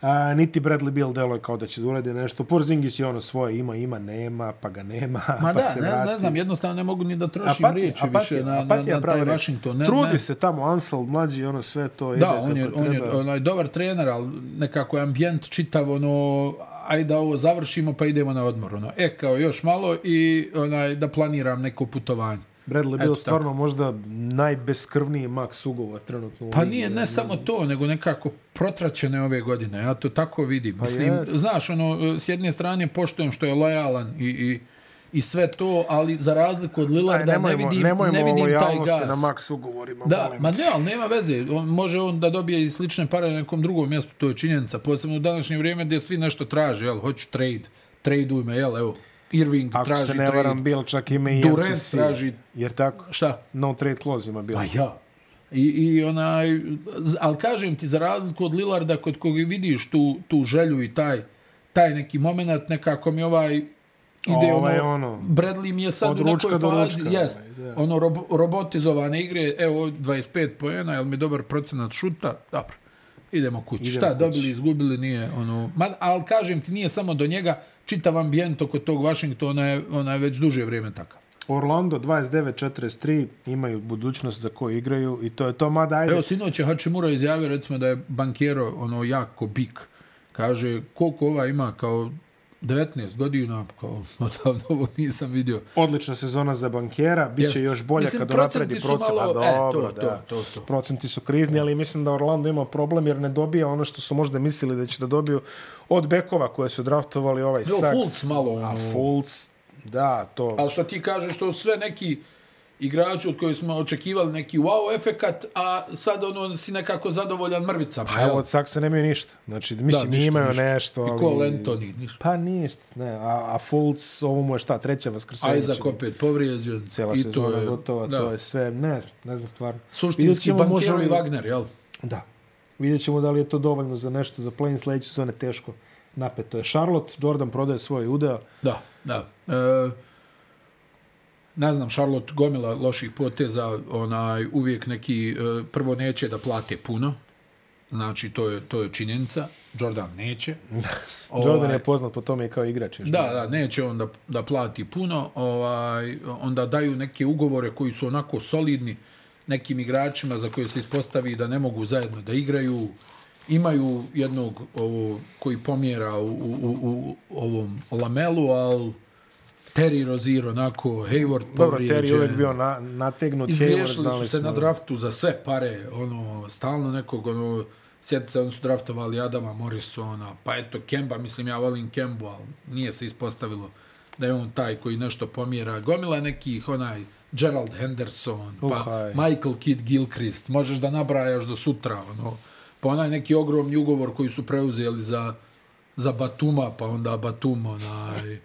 Speaker 1: A, niti Bradley Beal deluje kao da će da uradi nešto. Porzingis je ono svoje, ima, ima, nema, pa ga nema, pa
Speaker 2: Ma da,
Speaker 1: se
Speaker 2: ne,
Speaker 1: vrati.
Speaker 2: ne znam, jednostavno ne mogu ni da trošim
Speaker 1: Apatija,
Speaker 2: riječi
Speaker 1: apatija,
Speaker 2: više na, na,
Speaker 1: apatija
Speaker 2: na
Speaker 1: prava
Speaker 2: taj
Speaker 1: reč.
Speaker 2: Washington. Ne,
Speaker 1: Trudi
Speaker 2: ne,
Speaker 1: se tamo, Ansel, mlađi, ono sve to ide
Speaker 2: Da,
Speaker 1: kako
Speaker 2: on je,
Speaker 1: treba.
Speaker 2: on je onaj, dobar trener, ali nekako je ambijent čitav, ono, ajde da ovo završimo pa idemo na odmor. Ono. E, kao još malo i onaj, da planiram neko putovanje.
Speaker 1: Bradley
Speaker 2: Eto
Speaker 1: Beal stvarno možda najbeskrvniji maks ugovor trenutno. u
Speaker 2: Pa
Speaker 1: ligi,
Speaker 2: nije,
Speaker 1: ono.
Speaker 2: ne samo to, nego nekako protračene ove godine. Ja to tako vidim. Mislim,
Speaker 1: Pa jest.
Speaker 2: znaš, ono, s jedne strane poštujem što je lojalan i, i, i sve to, ali za razliku od
Speaker 1: Aj,
Speaker 2: Lillarda ne
Speaker 1: nemojmo,
Speaker 2: vidim,
Speaker 1: nemojmo
Speaker 2: ne vidim
Speaker 1: o
Speaker 2: taj
Speaker 1: lojalnosti
Speaker 2: gaz.
Speaker 1: na maks ugovorima.
Speaker 2: Da,
Speaker 1: molim
Speaker 2: ma
Speaker 1: te.
Speaker 2: ne, ali nema veze. On, može on da dobije i slične pare na nekom drugom mjestu, to je činjenica. Posebno u današnje vrijeme gdje svi nešto traže, jel, hoću trade, tradeuj me, jel, evo, Irving
Speaker 1: Ako
Speaker 2: traži
Speaker 1: se ne
Speaker 2: trade.
Speaker 1: varam, Bill čak ima i
Speaker 2: Durant
Speaker 1: MTC.
Speaker 2: traži-
Speaker 1: Jer tako,
Speaker 2: Šta?
Speaker 1: no trade clause ima Bill.
Speaker 2: Pa ja. I, i onaj, z- ali kažem ti, za razliku od Lillarda, kod koga vidiš tu, tu želju i taj, taj neki moment, nekako mi ovaj ide
Speaker 1: Ovaj,
Speaker 2: ono,
Speaker 1: ono,
Speaker 2: Bradley mi je sad
Speaker 1: od
Speaker 2: u
Speaker 1: ručka
Speaker 2: nekoj
Speaker 1: do
Speaker 2: fazi,
Speaker 1: ručka,
Speaker 2: jest,
Speaker 1: ovaj, da.
Speaker 2: ono rob, robotizovane igre, evo 25 pojena, jel mi dobar procenat šuta, dobro, idemo kući.
Speaker 1: Idemo
Speaker 2: Idemo Šta,
Speaker 1: kući.
Speaker 2: kući. dobili, izgubili, nije, ono, ma, ali kažem ti, nije samo do njega, čitav ambijent oko tog Washingtona je, ona je već duže vrijeme takav.
Speaker 1: Orlando 29-43 imaju budućnost za koju igraju i to je to, mada ajde.
Speaker 2: Evo, sinoć je Hachimura izjavio, recimo, da je bankjero ono, jako bik. Kaže, koliko ova ima, kao 19 godina, kao <laughs> odavno ovo nisam vidio.
Speaker 1: Odlična sezona za bankjera, bit će
Speaker 2: Jeste.
Speaker 1: još bolja
Speaker 2: Mislim,
Speaker 1: kad
Speaker 2: procenti
Speaker 1: napredi
Speaker 2: su
Speaker 1: procent.
Speaker 2: malo-
Speaker 1: Malo,
Speaker 2: e,
Speaker 1: dobro,
Speaker 2: to,
Speaker 1: da.
Speaker 2: to, to, to.
Speaker 1: Procenti su krizni, ali mislim da Orlando ima problem jer ne dobija ono što su možda mislili da će da dobiju od bekova koje su draftovali ovaj
Speaker 2: Jo,
Speaker 1: Saks.
Speaker 2: Fultz malo,
Speaker 1: A
Speaker 2: ono.
Speaker 1: Fultz, da, to.
Speaker 2: Ali što ti kažeš, to su sve neki igrači od kojih smo očekivali neki wow efekat, a sad ono si nekako zadovoljan mrvicama.
Speaker 1: Pa
Speaker 2: jel?
Speaker 1: evo, od Saksa nemaju ništa. Znači, mislim,
Speaker 2: ništa,
Speaker 1: imaju
Speaker 2: ništa.
Speaker 1: nešto, ali...
Speaker 2: I Cole Anthony, ništa.
Speaker 1: Pa ništa, ne. A, a Fultz, ovo mu je šta, treća vaskrsenja.
Speaker 2: Isaac opet povrijeđen.
Speaker 1: Cela
Speaker 2: i to
Speaker 1: sezona
Speaker 2: je-
Speaker 1: gotova,
Speaker 2: da.
Speaker 1: to je sve, ne znam, ne znam stvarno. Vidjet
Speaker 2: Suštinski
Speaker 1: ćemo, može
Speaker 2: bankjero
Speaker 1: li-
Speaker 2: i Wagner, jel?
Speaker 1: Da. Vidjet ćemo da li je to dovoljno za nešto za play-in sledeće sezone teško napeto je. Charlotte, Jordan prodaje svoj udeo.
Speaker 2: Da, da. E, ne znam, Charlotte gomila loših poteza, onaj, uvijek neki, e, prvo neće da plate puno, znači to je, to je činjenica, Jordan neće.
Speaker 1: <laughs> Jordan je poznat po tome i kao igrač. još.
Speaker 2: Ovaj- Da, da, neće on da, da plati puno, ovaj, onda daju neke ugovore koji su onako solidni nekim igračima za koje se ispostavi da ne mogu zajedno da igraju, imaju jednog ovo, koji pomjera u, u, u, u ovom lamelu, ali Terry Rozier onako, Hayward
Speaker 1: Dobro,
Speaker 2: povrijeđen.
Speaker 1: Terry je uvek bio na, nategnut. Hayward,
Speaker 2: Izgriješili
Speaker 1: znali
Speaker 2: su se
Speaker 1: smo.
Speaker 2: na draftu za sve pare, ono, stalno nekog, ono, sjeti se, oni su draftovali Adama Morrisona, pa eto, Kemba, mislim, ja volim Kembu, ali nije se ispostavilo da je on taj koji nešto pomjera. Gomila nekih, onaj, Gerald Henderson, pa
Speaker 1: Uhaj.
Speaker 2: Michael Kidd Gilchrist, možeš da nabrajaš do sutra, ono, pa onaj neki ogromni ugovor koji su preuzeli za za Batuma, pa onda
Speaker 1: <laughs>
Speaker 2: Batum, onaj,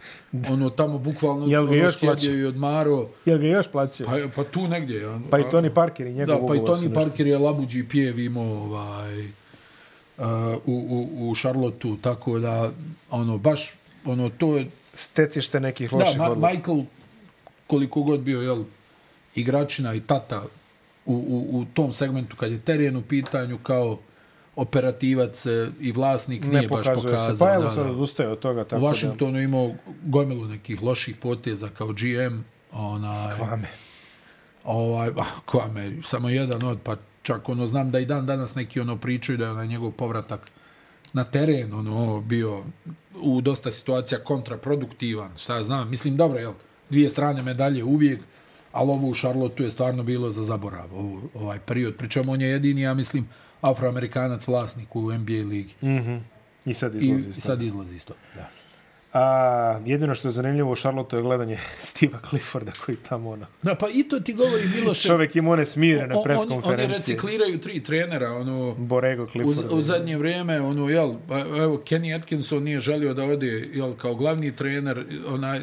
Speaker 2: ono tamo bukvalno
Speaker 1: Jel ga
Speaker 2: ono,
Speaker 1: još plaća?
Speaker 2: sjedio i odmaro.
Speaker 1: Jel ga još plaćaju?
Speaker 2: Pa, pa tu negdje. on-
Speaker 1: Pa i Tony Parker i njegov
Speaker 2: Da, pa i
Speaker 1: ugovor su
Speaker 2: Tony
Speaker 1: nešto.
Speaker 2: Parker je labuđi pijev imao ovaj, uh, u, u, u Charlotteu, tako da, ono, baš, ono, to je,
Speaker 1: Stecište nekih
Speaker 2: da,
Speaker 1: loših
Speaker 2: Ma,
Speaker 1: odluka.
Speaker 2: Michael, koliko god bio, jel, igračina i tata u, u, u tom segmentu, kad je teren u pitanju, kao operativac e, i vlasnik nije
Speaker 1: Ne
Speaker 2: baš
Speaker 1: pokazuje
Speaker 2: pokazao.
Speaker 1: se. Pa
Speaker 2: da,
Speaker 1: evo sad
Speaker 2: da.
Speaker 1: odustaje od toga.
Speaker 2: U
Speaker 1: Tako da,
Speaker 2: Washingtonu imao gomilu nekih loših poteza kao GM, onaj,
Speaker 1: Kvame.
Speaker 2: Ovaj, ah, Kwame, samo jedan od, pa čak ono, znam da i dan danas neki ono pričaju da je onaj njegov povratak na teren ono bio u dosta situacija kontraproduktivan, šta ja znam, mislim dobro, jel, dvije strane medalje uvijek, ali ovo u Charlotteu je stvarno bilo za zaborav, ovo, ovaj period, pričom on je jedini, ja mislim, afroamerikanac vlasnik u NBA ligi
Speaker 1: I sad
Speaker 2: i,
Speaker 1: Mm. izlazi
Speaker 2: i
Speaker 1: iz toga.
Speaker 2: sad izlazi iz toga. Da.
Speaker 1: A, jedino što je zanimljivo u Charlotte je <laughs> gledanje Steve'a Clifforda koji tamo ono...
Speaker 2: da, pa i to ti govori Miloše,
Speaker 1: Čovjek ima one smire na
Speaker 2: on- Oni, oni
Speaker 1: preskonferenciji.
Speaker 2: recikliraju tri trenera, ono,
Speaker 1: Borego
Speaker 2: U,
Speaker 1: Clifford.
Speaker 2: u zadnje vrijeme, ono, jel, pa, evo, Kenny Atkinson nije želio da ode, jel, kao glavni trener, onaj,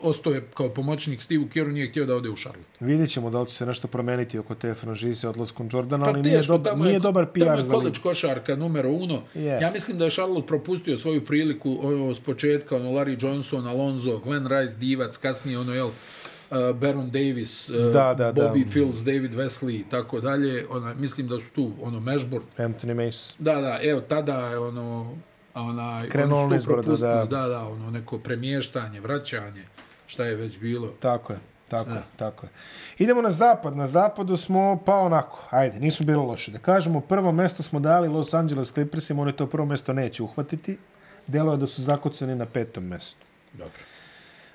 Speaker 2: ostao je kao pomoćnik Steve Kerru, nije htio da ode u Charlotte.
Speaker 1: Vidjet ćemo da li će se nešto promeniti oko te franšize odlaskom Jordana,
Speaker 2: Pa
Speaker 1: ali nije,
Speaker 2: teško,
Speaker 1: dobar,
Speaker 2: tamo
Speaker 1: nije
Speaker 2: je,
Speaker 1: dobar
Speaker 2: tamo
Speaker 1: PR
Speaker 2: je
Speaker 1: za ligu.
Speaker 2: koleđ košarka numero uno.
Speaker 1: Jest.
Speaker 2: Ja mislim da je Charlotte propustio svoju priliku ono, s početka, ono, Larry Johnson, Alonzo, Glenn Rice, Divac, kasnije, ono, jel, uh, Baron Davis, uh,
Speaker 1: Da, da, da.
Speaker 2: Bobby Fields, David Wesley i tako dalje. Ona, mislim da su tu, ono, Mashboard.
Speaker 1: Anthony Mace.
Speaker 2: Da, da, evo, tada je ono, onaj,
Speaker 1: Krenulo
Speaker 2: oni su to
Speaker 1: nizbrdo,
Speaker 2: propustili,
Speaker 1: da.
Speaker 2: da, da, ono, neko premještanje, vraćanje, šta je već bilo.
Speaker 1: Tako je, tako je, tako je. Idemo na zapad. Na zapadu smo pa onako, ajde, nisu bilo loše. Da kažemo, prvo mesto smo dali Los Angeles Clippersima, oni to prvo mesto neće uhvatiti. Delo je da su zakucani na petom mestu.
Speaker 2: Dobro.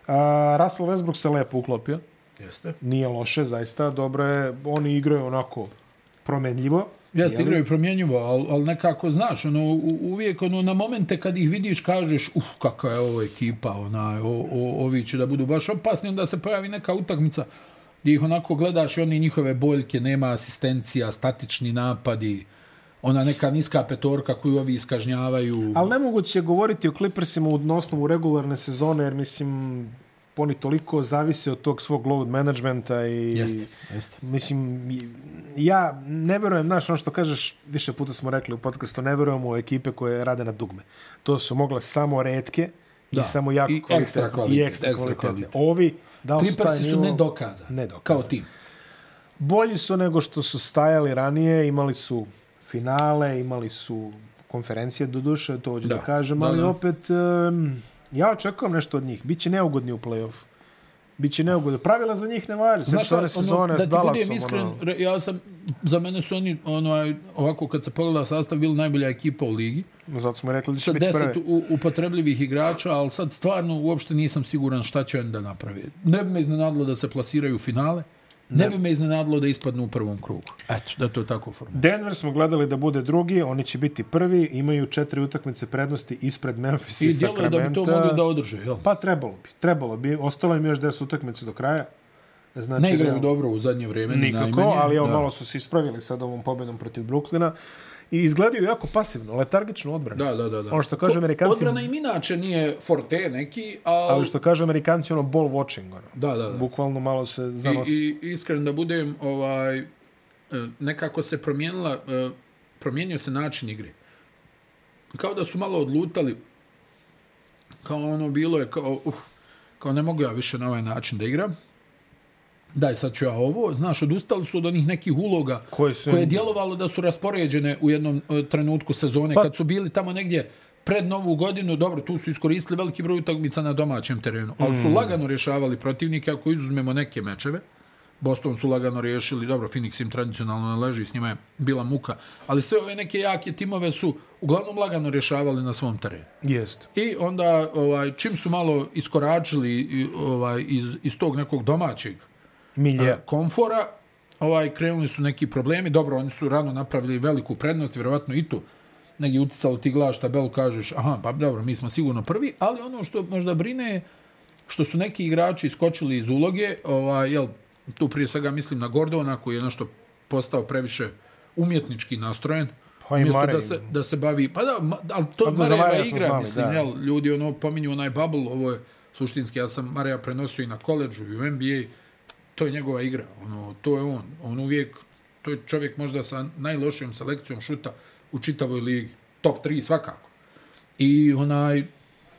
Speaker 1: A, Russell Westbrook se lepo uklopio.
Speaker 2: Jeste.
Speaker 1: Nije loše, zaista. Dobro je, oni igraju onako promenljivo.
Speaker 2: Jeste,
Speaker 1: Jeli?
Speaker 2: igraju promjenjivo, ali al nekako, znaš, ono, u- uvijek ono, na momente kad ih vidiš kažeš, uf, kakva je ovo ekipa, onaj, o, o, ovi će da budu baš opasni, onda se pojavi neka utakmica gdje ih onako gledaš i oni njihove boljke, nema asistencija, statični napadi, ona neka niska petorka koju ovi iskažnjavaju.
Speaker 1: Ali nemoguće je govoriti o Clippersima u- na osnovu regularne sezone, jer mislim, oni toliko zavise od tog svog load managementa i...
Speaker 2: Jeste, jeste.
Speaker 1: Mislim, i- ja ne verujem, znaš, ono što kažeš, više puta smo rekli u podcastu, ne verujem u ekipe koje rade na dugme. To su mogle samo redke i
Speaker 2: Da,
Speaker 1: samo jako
Speaker 2: i
Speaker 1: kvalitetne.
Speaker 2: ekstra kvalitet,
Speaker 1: I ekstra,
Speaker 2: ekstra
Speaker 1: kvalitetne.
Speaker 2: kvalitet.
Speaker 1: Ovi, da li su taj
Speaker 2: Clippersi su
Speaker 1: nivo-
Speaker 2: nedokazani,
Speaker 1: Nedokazani.
Speaker 2: kao tim.
Speaker 1: bolji su nego što su stajali ranije, imali su finale, imali su konferencije do duše, to hoću da,
Speaker 2: Da,
Speaker 1: da kažem,
Speaker 2: da,
Speaker 1: ali
Speaker 2: da.
Speaker 1: opet um, ja očekujem nešto od njih. Biće neugodni u play-off. Biće neugodni. Pravila za njih ne važe. Znači,
Speaker 2: šta,
Speaker 1: one sezone s
Speaker 2: ono, da ti
Speaker 1: Dallasom.
Speaker 2: budem iskren,
Speaker 1: ono,
Speaker 2: re- ja sam, za mene su oni, onaj, ovako kad se pogleda sastav, bili najbolja ekipa u ligi.
Speaker 1: zato smo i rekli da će
Speaker 2: sa
Speaker 1: biti
Speaker 2: 10
Speaker 1: prve.
Speaker 2: u, upotrebljivih igrača, ali sad stvarno uopšte nisam siguran šta će oni da naprave. Ne bi me iznenadilo da se plasiraju u finale, ne, ne bi me iznenadilo da ispadnu u prvom krugu. Eto, da to tako formulira.
Speaker 1: Denver smo gledali da bude drugi, oni će biti prvi, imaju četiri utakmice prednosti ispred Memphis i,
Speaker 2: I djelo je
Speaker 1: Sacramento.
Speaker 2: da bi to mogli da održe, jel?
Speaker 1: Pa trebalo bi, trebalo bi. Ostalo im još 10 utakmice do kraja. Znači,
Speaker 2: Ne igraju
Speaker 1: realno-
Speaker 2: dobro u zadnje vrijeme, ni
Speaker 1: Nikako,
Speaker 2: najmanje.
Speaker 1: ali evo
Speaker 2: da.
Speaker 1: malo su se ispravili sad ovom pobedom protiv Brooklyna i izgledaju jako pasivno, letargično odbranu.
Speaker 2: Da, da, da, da.
Speaker 1: Ono što kažu
Speaker 2: To-
Speaker 1: Amerikanci-
Speaker 2: Odbrana im inače nije forte neki, ali...
Speaker 1: Ali što kažu Amerikanci, ono ball watching, ono.
Speaker 2: Da, da, da.
Speaker 1: Bukvalno malo se zanosi. I, i...
Speaker 2: I, i iskren da budem, ovaj, eh, nekako se promijenila, eh, promijenio se način igre. Kao da su malo odlutali, kao ono bilo je, kao, uh, kao ne mogu ja više na ovaj način da igram. Daj, sad ću ja ovo. Znaš, odustali su od onih nekih uloga
Speaker 1: Koje su im-
Speaker 2: koje je djelovalo da su raspoređene u jednom eh, trenutku sezone,
Speaker 1: Pa-
Speaker 2: kad su bili tamo negdje pred novu godinu, dobro, tu su iskoristili veliki broj utakmica na domaćem terenu, ali
Speaker 1: Hmm.
Speaker 2: su lagano rješavali protivnike, ako izuzmemo neke mečeve. Boston su lagano riješili, dobro, Phoenix im tradicionalno ne leži, s njima je bila muka, ali sve ove neke jake timove su uglavnom lagano rješavali na svom terenu.
Speaker 1: Jest.
Speaker 2: I onda ovaj čim su malo iskoračili i, ovaj iz iz tog nekog domaćeg
Speaker 1: Milje.
Speaker 2: yeah. komfora, ovaj krenuli su neki problemi. Dobro, oni su rano napravili veliku prednost, vjerovatno i tu negdje uticalo ti gledaš tabelu, kažeš, aha, pa dobro, mi smo sigurno prvi, ali ono što možda brine je što su neki igrači iskočili iz uloge, ovaj, jel, tu prije svega mislim na Gordona koji je nešto postao previše umjetnički nastrojen,
Speaker 1: Pa i
Speaker 2: umjesto
Speaker 1: Marej.
Speaker 2: da se, da se bavi, pa da, ma- ali to
Speaker 1: Pa za
Speaker 2: Marejeva
Speaker 1: Mareja smo
Speaker 2: igra,
Speaker 1: znali,
Speaker 2: mislim,
Speaker 1: da.
Speaker 2: jel, ljudi ono pominju onaj bubble, ovo je suštinski, ja sam Mareja prenosio i na koleđu i u NBA, to je njegova igra, ono, to je on, on uvijek, to je čovjek možda sa najlošijom selekcijom šuta u čitavoj ligi, top 3 svakako. I onaj,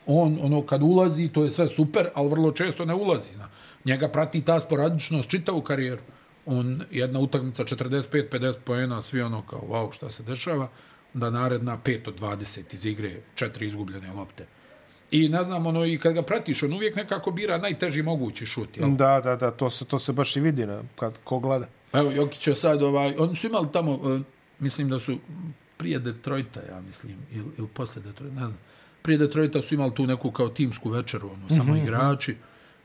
Speaker 2: on, ono, kad ulazi, to je sve super, ali vrlo često ne ulazi. Zna. Njega prati ta sporadičnost čitavu karijeru. On, jedna utakmica 45-50 poena, svi ono kao, wow, šta se dešava, da naredna 5 od 20 iz igre, četiri izgubljene lopte. I ne znam, ono, i kad ga pratiš, on uvijek nekako bira najteži mogući šut, jel?
Speaker 1: Da, da, da, to se, to se baš i vidi na, kad ko gleda.
Speaker 2: Evo, Jokić je sad ovaj... Oni su imali tamo, uh, mislim da su prije Detroita, ja mislim, ili il posle Detroita, ne znam. Prije Detroita su imali tu neku kao timsku večeru, ono, samo igrači,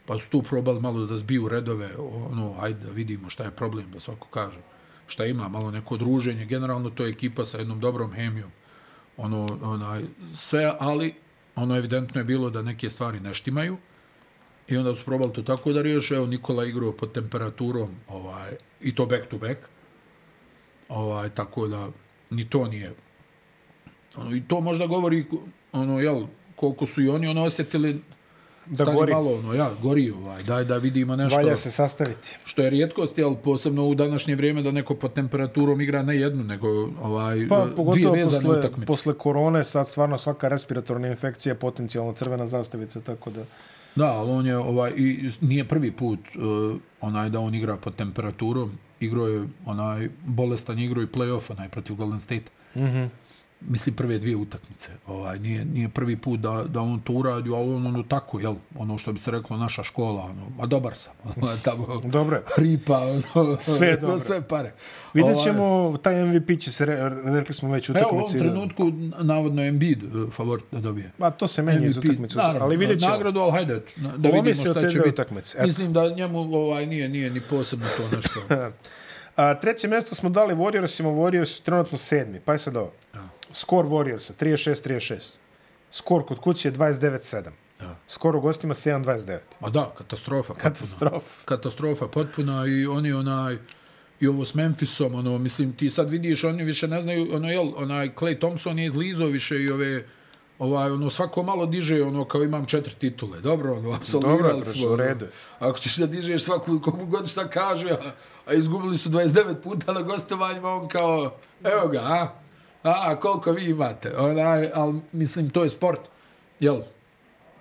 Speaker 2: pa su tu probali malo da zbiju redove, ono, ajde da vidimo šta je problem, da svako kaže šta ima, malo neko druženje, generalno to je ekipa sa jednom dobrom hemijom, ono, onaj, sve, ali ono evidentno je bilo da neke stvari ne štimaju, I onda su probali to tako da riješe. Evo, Nikola igrao pod temperaturom, ovaj, i to back to back. Ovaj, tako da, ni to nije. Ono, I to možda govori, ono, jel, koliko su i oni ono osjetili
Speaker 1: Da
Speaker 2: Stani
Speaker 1: gori.
Speaker 2: malo, ono, ja, gori ovaj, daj da vidimo nešto.
Speaker 1: Valja se sastaviti.
Speaker 2: Što je rijetkost, jel, posebno u današnje vrijeme da neko pod temperaturom igra ne jednu, nego ovaj,
Speaker 1: Pa,
Speaker 2: dvije
Speaker 1: pogotovo
Speaker 2: vezane
Speaker 1: posle,
Speaker 2: utakmice.
Speaker 1: posle korone, sad stvarno svaka respiratorna infekcija je potencijalno crvena zastavica, tako da...
Speaker 2: Da, ali on je ovaj, i nije prvi put uh, onaj da on igra pod temperaturom. Igro je onaj bolestan igro i play-off onaj protiv Golden State. Mm
Speaker 1: Mhm.
Speaker 2: -hmm. Mislim prve dvije utakmice. Ovaj, nije, nije prvi put da, da on to uradi, ali on ono tako, jel? Ono što bi se reklo naša škola, ono, ma dobar sam. <laughs> Ono, tamo
Speaker 1: Dobro je.
Speaker 2: ripa, ono,
Speaker 1: Sve
Speaker 2: <laughs>
Speaker 1: je dobro.
Speaker 2: sve pare.
Speaker 1: Vidjet
Speaker 2: Ovaj, Pa
Speaker 1: ćemo, taj MVP će se, re- rekli smo već
Speaker 2: Evo, u ovom
Speaker 1: utakmici.
Speaker 2: trenutku, navodno, Embiid eh, favorit da dobije.
Speaker 1: Ma to se meni iz utakmice, u utakmicu,
Speaker 2: naravno,
Speaker 1: ali vidjet ćemo.
Speaker 2: Nagradu, ali hajde, na- da
Speaker 1: Lomi
Speaker 2: vidimo
Speaker 1: se od
Speaker 2: šta
Speaker 1: te
Speaker 2: će
Speaker 1: dve
Speaker 2: biti.
Speaker 1: utakmice, eto.
Speaker 2: Mislim da njemu ovaj nije nije ni posebno to nešto.
Speaker 1: <laughs> A, treće mjesto smo dali Warriorsima, Warriors su trenutno sedmi. Pa je sad ovo. Skor Warriorsa, 36-36. Skor kod kuće je 29-7.
Speaker 2: Da.
Speaker 1: Skor u gostima 7-29.
Speaker 2: Ma da, katastrofa. Potpuna.
Speaker 1: Katastrofa.
Speaker 2: Katastrofa potpuna i oni onaj i ovo s Memphisom, ono, mislim, ti sad vidiš, oni više ne znaju, ono, jel, onaj, Clay Thompson je izlizao više i ove, ovaj, ono, svako malo diže, ono, kao imam četiri titule, dobro, ono,
Speaker 1: Dobro je,
Speaker 2: apsolvirali
Speaker 1: prošlo,
Speaker 2: smo,
Speaker 1: u
Speaker 2: ono,
Speaker 1: redu je.
Speaker 2: ako ćeš da dižeš svaku, komu god šta kaže, a, a izgubili su 29 puta na gostovanjima, on kao, evo ga, a, a, koliko vi imate, onaj, ali, mislim, to je sport, jel,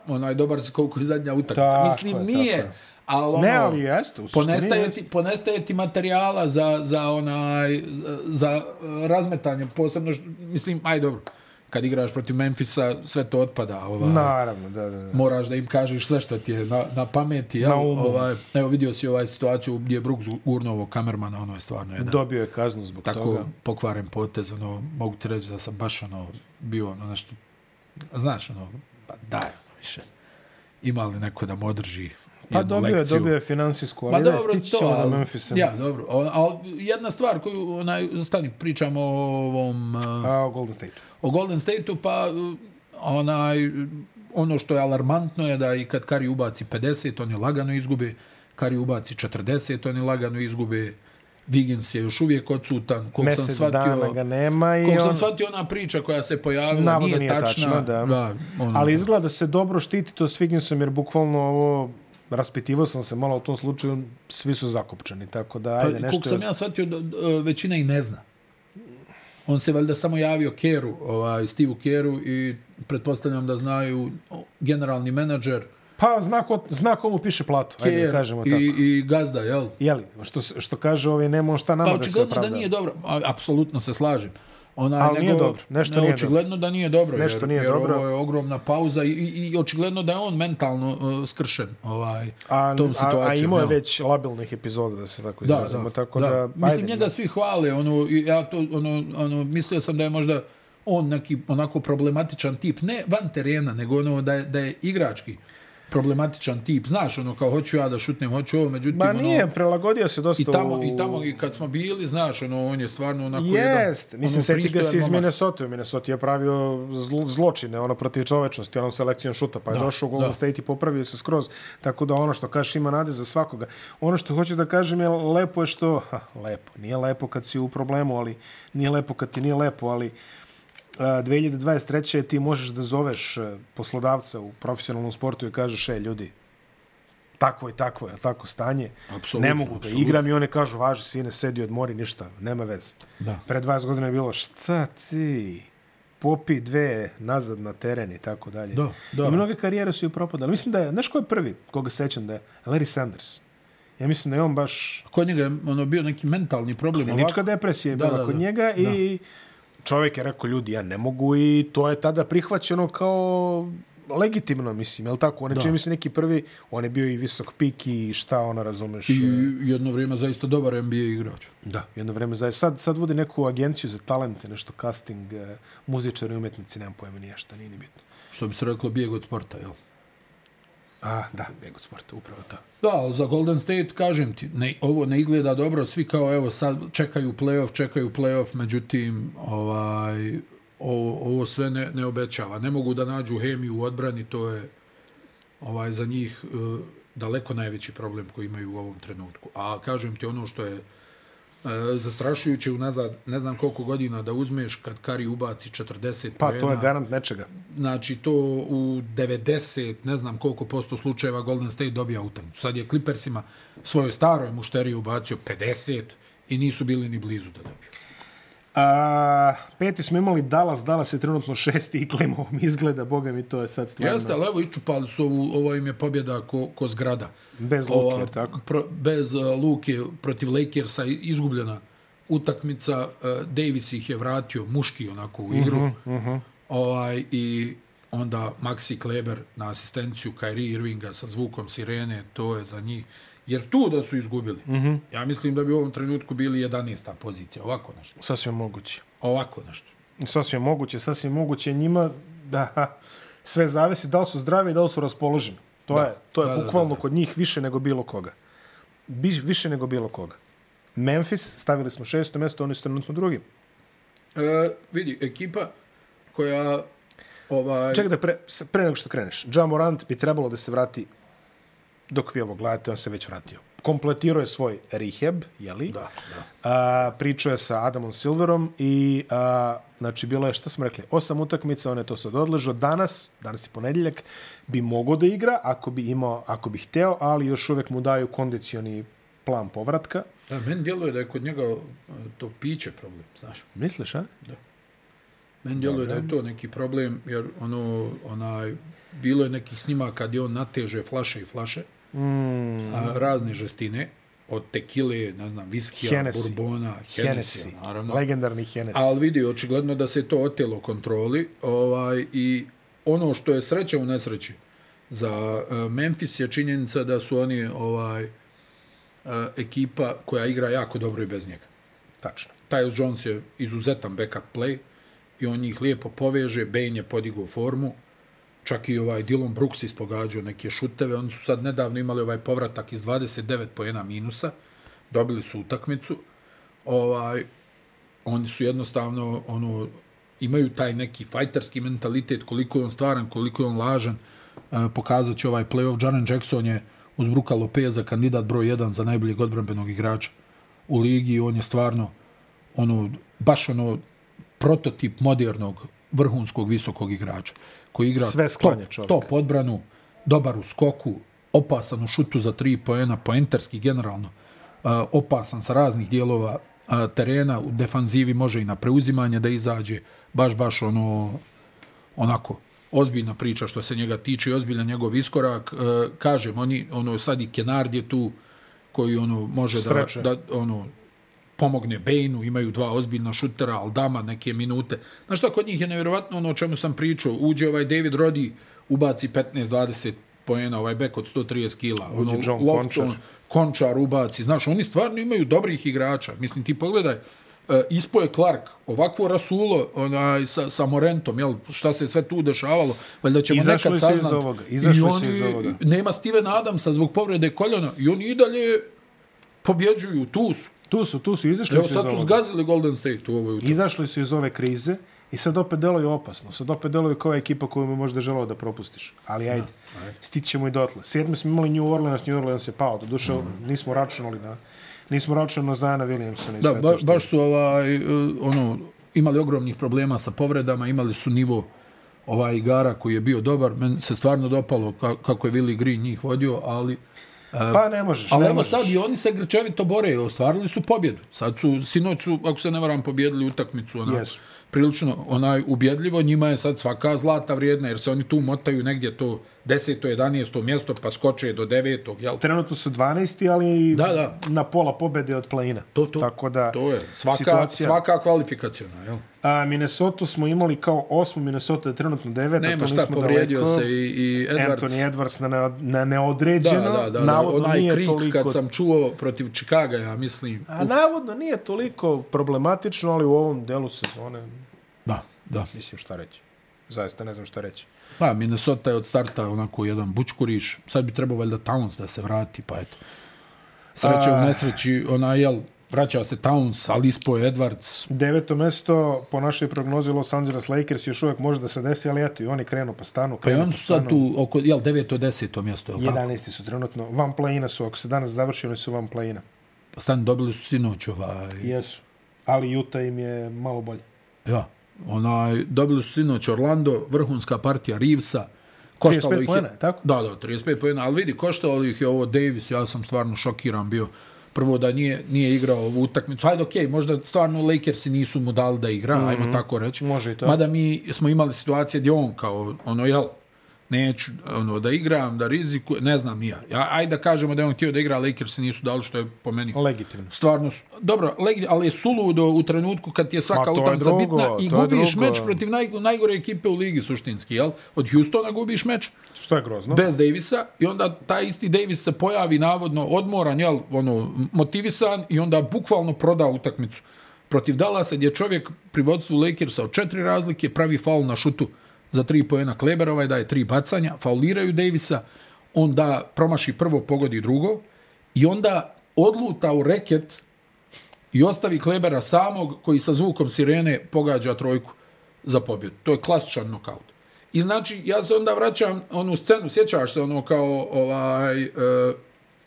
Speaker 2: onaj, dobar si koliko je zadnja utakmica,
Speaker 1: Tako
Speaker 2: mislim,
Speaker 1: je, tako je.
Speaker 2: nije, ali, ono,
Speaker 1: Ne, ali jeste. u suštini
Speaker 2: Ponestaje
Speaker 1: jeste.
Speaker 2: ti, ponestaje ti materijala za, za onaj, za e, razmetanje, posebno, što, mislim, aj dobro, kad igraš protiv Memfisa, sve to otpada. Ovaj,
Speaker 1: Naravno, da, da, da.
Speaker 2: Moraš da im kažeš sve što ti je na, na pameti. Jel?
Speaker 1: Na umu.
Speaker 2: ovaj, evo, vidio si ovaj situaciju gdje je Brooks gurnuo ovog kamermana, ono je stvarno jedan
Speaker 1: Dobio je kaznu zbog
Speaker 2: tako
Speaker 1: toga.
Speaker 2: pokvaren potez, ono, mogu ti reći da sam baš, ono, bio, ono, nešto, znaš, ono, pa daj, ono, više. Ima li neko da mu održi
Speaker 1: Pa
Speaker 2: jednu
Speaker 1: dobio je,
Speaker 2: lekciju?
Speaker 1: dobio je finansijsku,
Speaker 2: Ma
Speaker 1: ali da,
Speaker 2: Pa dobro,
Speaker 1: stići
Speaker 2: to,
Speaker 1: ćemo do
Speaker 2: ali-
Speaker 1: Memphisa.
Speaker 2: Ja, dobro. O- Al jedna stvar koju onaj stani pričamo o ovom eh,
Speaker 1: A, o Golden State.
Speaker 2: o Golden Stateu pa eh, onaj eh, ono što je alarmantno je da i kad Kari ubaci 50, oni lagano izgube. Kari ubaci 40, oni lagano izgube. Wiggins je još uvijek odsutan. Koliko sam
Speaker 1: Mesec dana ga
Speaker 2: shvatio,
Speaker 1: nema i
Speaker 2: koliko sam
Speaker 1: on-
Speaker 2: shvatio ona priča koja se pojavila
Speaker 1: Navodno
Speaker 2: nije,
Speaker 1: nije
Speaker 2: tačna.
Speaker 1: tačna, da.
Speaker 2: da ono,
Speaker 1: Ali izgleda da se dobro štiti to s Wigginsom, jer bukvalno ovo, raspitivao sam se malo u tom slučaju, svi su zakopčani, tako da ajde
Speaker 2: Pa,
Speaker 1: nešto...
Speaker 2: Koliko sam ja shvatio, da, da, e, većina i ne zna. On se valjda samo javio Keru, ovaj, Steve Keru i pretpostavljam da znaju o, generalni menadžer
Speaker 1: Pa zna ko, zna ko mu piše platu, ajde da
Speaker 2: Kerr
Speaker 1: kažemo tako.
Speaker 2: i, i gazda, jel?
Speaker 1: Jeli, što, se- što kaže ovaj, nema on šta nama
Speaker 2: Pa
Speaker 1: da se
Speaker 2: očigledno
Speaker 1: opravda.
Speaker 2: da nije dobro, a, apsolutno se slažem. Ona,
Speaker 1: Ali nije dobro, nešto nije dobro.
Speaker 2: Očigledno da nije dobro,
Speaker 1: Nešto
Speaker 2: jer,
Speaker 1: nije
Speaker 2: jer
Speaker 1: dobro.
Speaker 2: ovo je ogromna pauza i, i, i očigledno da je on mentalno uh, skršen ovaj,
Speaker 1: A,
Speaker 2: tom
Speaker 1: a,
Speaker 2: situacijom.
Speaker 1: a imao je
Speaker 2: jel?
Speaker 1: već labilnih epizoda, da se tako
Speaker 2: Da,
Speaker 1: izrazimo,
Speaker 2: da,
Speaker 1: tako da... ajde,
Speaker 2: Mislim, njega svi hvale, ono, i ja to, ono, ono, mislio sam da je možda on neki onako problematičan tip, ne van terena, nego ono da je, da je igrački problematičan tip. Znaš, ono, kao hoću ja da šutnem, hoću ovo, međutim,
Speaker 1: Ma nije,
Speaker 2: ono,
Speaker 1: prelagodio se dosta
Speaker 2: i tamo,
Speaker 1: u...
Speaker 2: i tamo i kad smo bili, znaš, ono, on je stvarno onako ono
Speaker 1: Jest, mislim, seti ga se iz
Speaker 2: pristojan momak.
Speaker 1: Minnesota. U Minnesota je pravio zl zločine, ono, protiv čovečnosti, onom selekcijom šuta, pa je
Speaker 2: Da,
Speaker 1: došao u Golden
Speaker 2: da.
Speaker 1: State i popravio se skroz. Tako da ono što kažeš ima nade za svakoga. Ono što hoću da kažem je lepo je što, ha, lepo, nije lepo kad si u problemu, ali nije lepo kad ti nije lepo, ali a, 2023. je ti možeš da zoveš e, poslodavca u profesionalnom sportu i kažeš, e, ljudi, takvo je takvo je, tako stanje.
Speaker 2: Apsolutno,
Speaker 1: ne mogu da
Speaker 2: apsolutno.
Speaker 1: igram i one kažu, važi sine, sedi, odmori, ništa, nema veze.
Speaker 2: Da.
Speaker 1: Pre 20 godina je bilo, šta ti, popi dve nazad na teren i tako dalje.
Speaker 2: Da, da.
Speaker 1: I mnoge karijere su i propadale. Mislim da je, znaš ko je prvi, koga sećam da je? Larry Sanders. Ja mislim da je on baš,
Speaker 2: Kod njega je ono, bio neki mentalni problem.
Speaker 1: klinička
Speaker 2: ovako.
Speaker 1: depresija je
Speaker 2: Da,
Speaker 1: bila
Speaker 2: da,
Speaker 1: kod
Speaker 2: da.
Speaker 1: njega i čovjek je rekao, ljudi, ja ne mogu i to je tada prihvaćeno kao legitimno, mislim, jel tako? On je čini mi se neki prvi, on je bio i visok pik i šta ono, razumeš?
Speaker 2: I jedno vrijeme zaista dobar NBA igrač.
Speaker 1: Da, jedno vreme zaista. Sad, sad vodi neku agenciju za talente, nešto casting, e, muzičari, umetnici, nemam pojma nije šta, nije ni bitno.
Speaker 2: Što bi se reklo, bijeg od sporta, jel?
Speaker 1: A, da, Beg od sporta, upravo to.
Speaker 2: Da, ali za Golden State, kažem ti, ne, ovo ne izgleda dobro, svi kao, evo, sad čekaju playoff, čekaju playoff, međutim, ovaj, ovo, ovo sve ne, ne obećava. Ne mogu da nađu hemiju u odbrani, to je ovaj za njih e, daleko najveći problem koji imaju u ovom trenutku. A kažem ti ono što je E, zastrašujuće unazad ne znam koliko godina da uzmeš kad Kari ubaci 40
Speaker 1: Pa, to je garant nečega.
Speaker 2: Znači, to u 90, ne znam koliko posto slučajeva Golden State dobija utakmicu. Sad je Clippersima svojoj staroj mušteriji ubacio 50 i nisu bili ni blizu da dobiju.
Speaker 1: A, peti smo imali Dallas, Dallas je trenutno šesti i klimavom izgleda, boga mi to je sad stvarno.
Speaker 2: Jeste, ali evo iščupali su ovu, ovo im je pobjeda ko, ko zgrada.
Speaker 1: Bez Luke,
Speaker 2: Ova,
Speaker 1: jer tako?
Speaker 2: Pro, bez uh, Luke protiv Lakersa i- izgubljena utakmica. Uh, Davis ih je vratio muški onako u igru. Uh
Speaker 1: Mhm,
Speaker 2: -huh, uh -huh. Ovaj, I onda Maxi Kleber na asistenciju Kyrie Irvinga sa zvukom sirene, to je za njih. Jer tu da su izgubili, uh
Speaker 1: Mhm.
Speaker 2: -huh. ja mislim da bi u ovom trenutku bili 11. pozicija, ovako nešto.
Speaker 1: Sasvim moguće.
Speaker 2: Ovako nešto.
Speaker 1: Sasvim moguće, sasvim moguće njima da ha, sve zavisi da li su zdravi i da li su raspoloženi. To da, je, to je da,
Speaker 2: da, da,
Speaker 1: bukvalno da,
Speaker 2: da,
Speaker 1: da. kod njih više nego bilo koga. Biš, više nego bilo koga. Memphis, stavili smo šesto mesto, oni su trenutno drugi.
Speaker 2: E, vidi, ekipa koja ovaj,
Speaker 1: Čekaj da pre, s- pre nego što kreneš. Ja Morant bi trebalo da se vrati dok vi ovo gledate, on se već vratio. Kompletirao je svoj rehab, jeli?
Speaker 2: Da, da.
Speaker 1: A, pričao je sa Adamom Silverom i a, znači bilo je, šta smo rekli, osam utakmica, on je to sad odležao. Danas, danas je ponedjeljak, bi mogao da igra ako bi imao, ako bi hteo, ali još uvek mu daju kondicioni plan povratka.
Speaker 2: Da, meni djeluje da je kod njega e, to piće problem, znaš.
Speaker 1: Misliš, a?
Speaker 2: Meni djeluje da je to neki problem, jer ono, onaj, bilo je nekih snimaka gdje on nateže flaše i flaše, mm. a, razne žestine, od tekile, ne znam, viskija,
Speaker 1: Hennessy.
Speaker 2: bourbona,
Speaker 1: Hennessy,
Speaker 2: Hennessy, naravno.
Speaker 1: legendarni Hennessy.
Speaker 2: Ali vidi, očigledno da se to otelo kontroli ovaj, i ono što je sreća u nesreći za e, Memphis je činjenica da su oni ovaj e, ekipa koja igra jako dobro i bez njega.
Speaker 1: Tačno.
Speaker 2: Tyus Jones je izuzetan backup play i on njih lijepo poveže, Bane je podigao formu, čak i ovaj Dylan Brooks ispogađao neke šuteve, oni su sad nedavno imali ovaj povratak iz 29 pojena minusa, dobili su utakmicu, ovaj, oni su jednostavno, ono, imaju taj neki fajterski mentalitet, koliko je on stvaran, koliko je on lažan, e, pokazat će ovaj playoff. Jaren Jackson je uz Bruka Lopeza kandidat broj 1 za najboljeg odbranbenog igrača u ligi i on je stvarno ono, baš ono prototip modernog vrhunskog visokog igrača koji igra
Speaker 1: Sve sklanja čovjek.
Speaker 2: top, top odbranu, dobar u skoku, opasan u šutu za tri poena, poentarski generalno, uh, opasan sa raznih dijelova uh, terena, u defanzivi može i na preuzimanje da izađe, baš, baš ono, onako, ozbiljna priča što se njega tiče i ozbiljan njegov iskorak. Uh, kažem, oni, ono, sad i Kenard je tu koji ono može
Speaker 1: Streče.
Speaker 2: da, da ono pomogne Bejnu, imaju dva ozbiljna šutera, Aldama neke minute. Znaš šta, kod njih je nevjerovatno ono o čemu sam pričao. Uđe ovaj David Rodi, ubaci 15-20 poena, ovaj bek od 130 kila. Ono,
Speaker 1: John Končar.
Speaker 2: on, Končar ubaci. Znaš, oni stvarno imaju dobrih igrača. Mislim, ti pogledaj, e, ispo je Clark, ovakvo rasulo onaj, sa, sa Morentom, jel, šta se sve tu dešavalo, valjda ćemo
Speaker 1: Izašli
Speaker 2: nekad
Speaker 1: su iz
Speaker 2: saznat.
Speaker 1: ovoga, izašli
Speaker 2: I
Speaker 1: su
Speaker 2: oni-
Speaker 1: iz ovoga.
Speaker 2: Nema Steven Adamsa zbog povrede koljena i oni i dalje pobjeđuju, tu su.
Speaker 1: Tu su, tu su, izašli su
Speaker 2: Evo
Speaker 1: iz
Speaker 2: sad su
Speaker 1: ovoga.
Speaker 2: zgazili Golden State u ovoj utakmici.
Speaker 1: Izašli su iz ove krize i sad opet deluju opasno. Sad opet deluju kao ekipa koju bi možda želao da propustiš. Ali ajde, stićemo i dotle. Sedmi smo imali New Orleans, New Orleans je pao. Doduše,
Speaker 2: Mhm.
Speaker 1: nismo računali na... Nismo računali na Zajana Williamsona i
Speaker 2: Da,
Speaker 1: sve
Speaker 2: ba,
Speaker 1: to što...
Speaker 2: baš su ovaj, e, ono, imali ogromnih problema sa povredama, imali su nivo ovaj igara koji je bio dobar. Meni se stvarno dopalo ka- kako je Willi Green njih vodio, ali...
Speaker 1: Pa ne možeš,
Speaker 2: Ali
Speaker 1: ne
Speaker 2: evo
Speaker 1: možeš.
Speaker 2: sad i oni se grčevito bore, ostvarili su pobjedu. Sad su, sinoć su, ako se ne varam, pobjedili utakmicu. Onaj,
Speaker 1: Jesu.
Speaker 2: prilično onaj ubjedljivo, njima je sad svaka zlata vrijedna, jer se oni tu motaju negdje to 10. 11. mjesto, pa skoče do 9. Jel?
Speaker 1: Trenutno su 12. ali
Speaker 2: Da, da.
Speaker 1: na pola pobede od planina.
Speaker 2: To, to,
Speaker 1: Tako da,
Speaker 2: to je svaka,
Speaker 1: situacija...
Speaker 2: svaka kvalifikaciona, jel?
Speaker 1: A, Minnesota smo imali kao osmu, Minnesota je trenutno deveta,
Speaker 2: Nema
Speaker 1: to
Speaker 2: šta,
Speaker 1: nismo
Speaker 2: povrijedio
Speaker 1: daleko.
Speaker 2: se i, i Edwards.
Speaker 1: Anthony Edwards na, ne- na neodređeno,
Speaker 2: da, da, da, da,
Speaker 1: navodno
Speaker 2: onaj
Speaker 1: nije
Speaker 2: krik
Speaker 1: toliko
Speaker 2: kad sam čuo protiv Čikaga, ja mislim.
Speaker 1: A navodno nije toliko problematično, ali u ovom delu sezone
Speaker 2: Da, da.
Speaker 1: mislim šta reći. Zaista ne znam šta reći.
Speaker 2: Pa, Minnesota je od starta onako jedan bučkuriš. Sad bi trebao valjda Towns da se vrati, pa eto. Sreće u nesreći, ona, jel, vraća se Towns, ali ispo je Edwards.
Speaker 1: Deveto mesto, po našoj prognozi Los Angeles Lakers još uvijek može da se desi, ali eto i oni krenu pa stanu.
Speaker 2: Pa i
Speaker 1: Krenu,
Speaker 2: oni su sad tu oko, jel, 9. 10. mjesto, jel tako?
Speaker 1: 11. su trenutno, van play-ina su, ako se danas završi, oni su van play-ina.
Speaker 2: Pa Stan dobili su sinoć ovaj...
Speaker 1: Jesu. Ali Utah im je malo bolje.
Speaker 2: Ja, onaj, dobili su sinoć Orlando, vrhunska partija Reevesa. Koštalo
Speaker 1: 35
Speaker 2: ih
Speaker 1: poena, je tako?
Speaker 2: Da, da, 35 pojena, ali vidi, koštalo ih je ovo Davis, ja sam stvarno šokiran bio. Prvo da nije, nije igrao ovu utakmicu. Hajde, okej, okay, možda stvarno Lakersi nisu mu dali da igra, mm -hmm. ajmo tako reći.
Speaker 1: Mhm, Može i to.
Speaker 2: Mada mi smo imali situacije gdje on kao, ono, jel, neću ono, da igram, da riziku, ne znam ni ja. ja. Ajde da kažemo da je on htio da igra, Lakersi nisu dali što je po meni
Speaker 1: Legitimno.
Speaker 2: stvarno, su- dobro, legi- ali je suludo u trenutku kad ti je svaka
Speaker 1: Ma, to je
Speaker 2: utakmica
Speaker 1: drugo,
Speaker 2: bitna i
Speaker 1: to je
Speaker 2: gubiš
Speaker 1: drugo.
Speaker 2: meč protiv naj, najgore ekipe u ligi suštinski, jel? Od Houstona gubiš meč
Speaker 1: Što je grozno.
Speaker 2: bez Davisa i onda taj isti Davis se pojavi navodno odmoran, jel, ono, motivisan i onda bukvalno proda utakmicu. Protiv Dallasa gdje čovjek pri vodstvu Lakersa od četiri razlike pravi faul na šutu za tri pojena Kleberova i daje tri bacanja, fauliraju Davisa, onda promaši prvo, pogodi drugo i onda odluta u reket i ostavi Klebera samog koji sa zvukom sirene pogađa trojku za pobjedu. To je klasičan nokaut. I znači, ja se onda vraćam onu scenu, sjećaš se ono kao ovaj, e,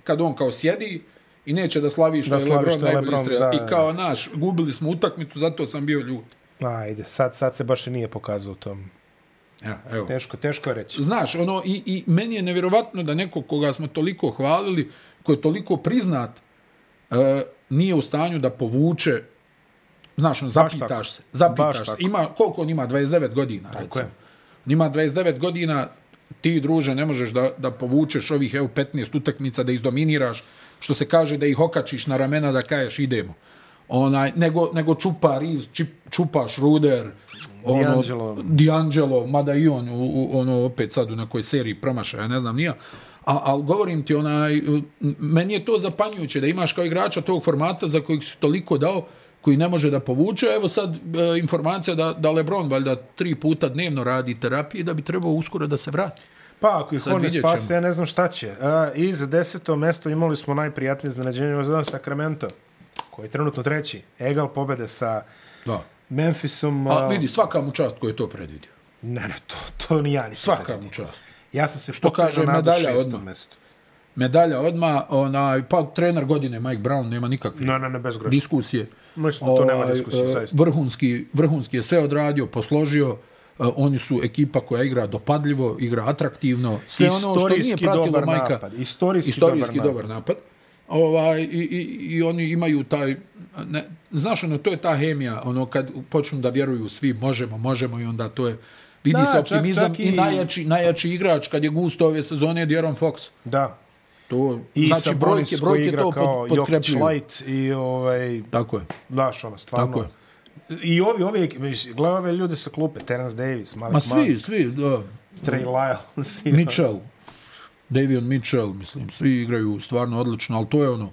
Speaker 2: kad on kao sjedi i neće da slavi što
Speaker 1: Da
Speaker 2: da je
Speaker 1: slavi
Speaker 2: Lebron
Speaker 1: što je
Speaker 2: najbolji
Speaker 1: LeBron,
Speaker 2: strelac.
Speaker 1: da, da.
Speaker 2: I kao naš, gubili smo utakmicu, zato sam bio ljut.
Speaker 1: Ajde, sad, sad se baš i nije pokazao u tom.
Speaker 2: Ja, evo.
Speaker 1: Teško, teško je reći.
Speaker 2: Znaš, ono, i, i meni je nevjerovatno da neko koga smo toliko hvalili, ko je toliko priznat, e, nije u stanju da povuče, znaš, ono,
Speaker 1: tako.
Speaker 2: zapitaš se. Zapitaš
Speaker 1: Baš
Speaker 2: se.
Speaker 1: tako.
Speaker 2: Ima, koliko on ima? 29 godina, tako recimo.
Speaker 1: je.
Speaker 2: On Ima 29 godina, ti, druže, ne možeš da, da povučeš ovih, evo, 15 utakmica, da izdominiraš, što se kaže da ih okačiš na ramena, da kaješ, idemo. Onaj, nego, nego čupa Reeves, čip, čupa Schruder, ono,
Speaker 1: D'Angelo.
Speaker 2: D'Angelo, mada i on u, u, ono opet sad u nekoj seriji promašaja, ja ne znam nija. A, ali govorim ti, onaj, m, meni je to zapanjujuće da imaš kao igrača tog formata za kojeg si toliko dao, koji ne može da povuče. Evo sad e, informacija da, da Lebron valjda tri puta dnevno radi terapije da bi trebao uskoro da se vrati.
Speaker 1: Pa, ako ih
Speaker 2: Sad
Speaker 1: on ne
Speaker 2: vidjet
Speaker 1: spase,
Speaker 2: ćemo.
Speaker 1: ja ne znam šta će. A, I za deseto mesto imali smo najprijatnije iznenađenje za Sacramento, koji je trenutno treći. Egal pobede sa
Speaker 2: Da.
Speaker 1: Memphisom. e,
Speaker 2: A vidi, svaka mu čast ko je to predvidio.
Speaker 1: Ne, ne, to, to ni ja nisam.
Speaker 2: Svaka
Speaker 1: predvidio.
Speaker 2: mu čast.
Speaker 1: Ja sam se
Speaker 2: Što
Speaker 1: potpuno
Speaker 2: kaže,
Speaker 1: nadao
Speaker 2: medalja
Speaker 1: šestom
Speaker 2: odmah.
Speaker 1: mestu.
Speaker 2: Medalja odma, onaj, pa trener godine Mike Brown, nema nikakve
Speaker 1: Ne, ne, ne, bez greške.
Speaker 2: diskusije.
Speaker 1: Mislim da to nema
Speaker 2: Ovaj,
Speaker 1: diskusije,
Speaker 2: e,
Speaker 1: zaista.
Speaker 2: Vrhunski, vrhunski je sve odradio, posložio, e, oni su ekipa koja igra dopadljivo, igra atraktivno, sve ono što nije
Speaker 1: Istorijski
Speaker 2: pratilo
Speaker 1: dobar
Speaker 2: Majka.
Speaker 1: napad, istorijski dobar
Speaker 2: dobar napad. Ovaj, i, i, I oni imaju taj, ne, znaš ono, to je ta hemija, ono kad počnu da vjeruju svi, možemo, možemo i onda to je, vidi
Speaker 1: Da,
Speaker 2: se
Speaker 1: čak-
Speaker 2: optimizam
Speaker 1: čak
Speaker 2: i...
Speaker 1: i-
Speaker 2: najjači, najjači igrač kad je gusto ove sezone je Deron Fox.
Speaker 1: Da.
Speaker 2: To,
Speaker 1: I
Speaker 2: znači,
Speaker 1: sa
Speaker 2: brojke,
Speaker 1: Boris koji
Speaker 2: brojke
Speaker 1: igra
Speaker 2: to
Speaker 1: kao Jokic
Speaker 2: pod, podkrepljuju.
Speaker 1: Light i ovaj,
Speaker 2: Tako je.
Speaker 1: Znaš, ono, stvarno.
Speaker 2: Tako je.
Speaker 1: I ovi, ovi, gledaj ove ljude sa klupe, Terence Davis, Malik
Speaker 2: Ma
Speaker 1: Ma
Speaker 2: svi, svi, da.
Speaker 1: Trey Lyles. i-
Speaker 2: Mitchell, Davion Mitchell, mislim, svi igraju stvarno odlično, ali to je ono,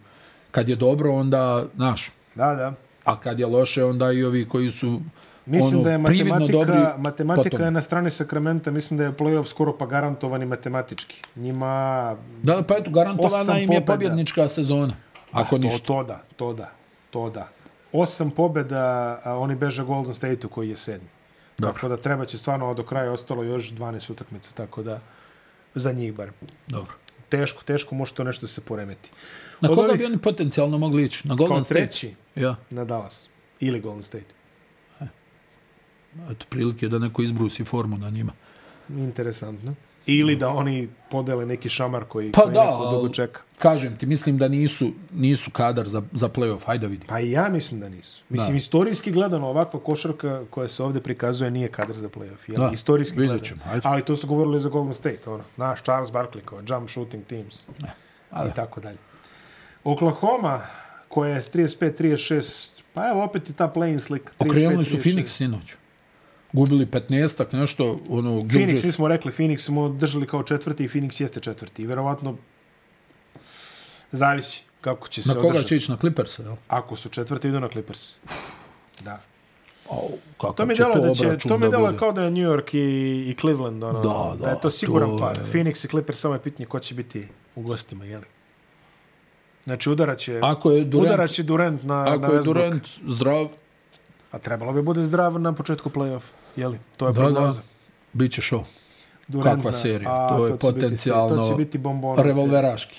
Speaker 2: kad je dobro, onda, znaš,
Speaker 1: Da, da.
Speaker 2: a kad je loše, onda i ovi koji su
Speaker 1: Mislim
Speaker 2: ono,
Speaker 1: da je
Speaker 2: prividno
Speaker 1: matematika,
Speaker 2: dobri
Speaker 1: matematika
Speaker 2: potom.
Speaker 1: je na strani Sakramenta, mislim da je playoff skoro pa garantovan i matematički. Njima,
Speaker 2: Da, pa eto, garantovana
Speaker 1: Osam
Speaker 2: im je
Speaker 1: pobjeda. Pa,
Speaker 2: pobjednička sezona, ako
Speaker 1: to,
Speaker 2: ništa.
Speaker 1: to da, to da, to da. Osam pobjeda, a oni beže Golden State-u koji je sedmi.
Speaker 2: Dobro.
Speaker 1: Tako da treba će stvarno do kraja ostalo još 12 utakmica, tako da za njih bar.
Speaker 2: Dobro.
Speaker 1: Teško, teško može to nešto da se poremeti.
Speaker 2: Na
Speaker 1: Od
Speaker 2: koga
Speaker 1: ovih-
Speaker 2: bi oni potencijalno mogli ići? Na Golden
Speaker 1: pa Kao
Speaker 2: State?
Speaker 1: treći
Speaker 2: Ja,
Speaker 1: na Dallas ili Golden State.
Speaker 2: eto, prilike da neko izbrusi formu na njima.
Speaker 1: Interesantno. Ili da oni podele neki šamar koji,
Speaker 2: Pa
Speaker 1: koji
Speaker 2: da,
Speaker 1: neko dugo
Speaker 2: ali-
Speaker 1: čeka.
Speaker 2: Kažem ti, mislim da nisu, nisu kadar za, za playoff, hajde vidi.
Speaker 1: Pa i ja mislim da nisu. Mislim, istorijski gledano, ovakva košarka koja se ovdje prikazuje nije kadar za playoff. Jel?
Speaker 2: Da,
Speaker 1: istorijski
Speaker 2: vidjet
Speaker 1: gledano.
Speaker 2: ćemo, ajde.
Speaker 1: Ali to su govorili za Golden State. Ono. Naš Charles Barkley kao jump shooting teams
Speaker 2: E,
Speaker 1: i tako dalje. Oklahoma, koja je 35-36, pa evo opet i ta play-in slika.
Speaker 2: Okrenuli su
Speaker 1: 35-36.
Speaker 2: Phoenix sinoć. Gubili 15-ak, nešto, ono,
Speaker 1: Phoenix,
Speaker 2: Gilgis.
Speaker 1: nismo rekli, Phoenix smo držali kao četvrti i Phoenix jeste četvrti. I verovatno zavisi kako će
Speaker 2: Na
Speaker 1: se
Speaker 2: koga
Speaker 1: održati.
Speaker 2: će ići? Na Clippers, jel?
Speaker 1: Ako su četvrti, idu na Clippers. Da.
Speaker 2: Au, kako
Speaker 1: To mi
Speaker 2: će
Speaker 1: delo da će,
Speaker 2: obračun
Speaker 1: to mi
Speaker 2: da
Speaker 1: delo
Speaker 2: bude?
Speaker 1: kao da je New York i, i Cleveland, ono,
Speaker 2: Da,
Speaker 1: da,
Speaker 2: da,
Speaker 1: da, je to siguran
Speaker 2: to
Speaker 1: par.
Speaker 2: je-
Speaker 1: Phoenix i Clippers samo je pitanje ko će biti u gostima, jeli? Znači, udarat će,
Speaker 2: Ako je Durant,
Speaker 1: udarat će Durant na, na
Speaker 2: ako je
Speaker 1: Westbrook.
Speaker 2: Durant zdrav,
Speaker 1: A trebalo bi bude zdrav na početku play-off, jeli? To je
Speaker 2: da,
Speaker 1: prognoza.
Speaker 2: da, bit će show.
Speaker 1: Durant
Speaker 2: Kakva
Speaker 1: na-
Speaker 2: serija,
Speaker 1: a,
Speaker 2: to je
Speaker 1: će biti se-
Speaker 2: potencijalno
Speaker 1: to će biti bombona. serija.
Speaker 2: Revolveraški.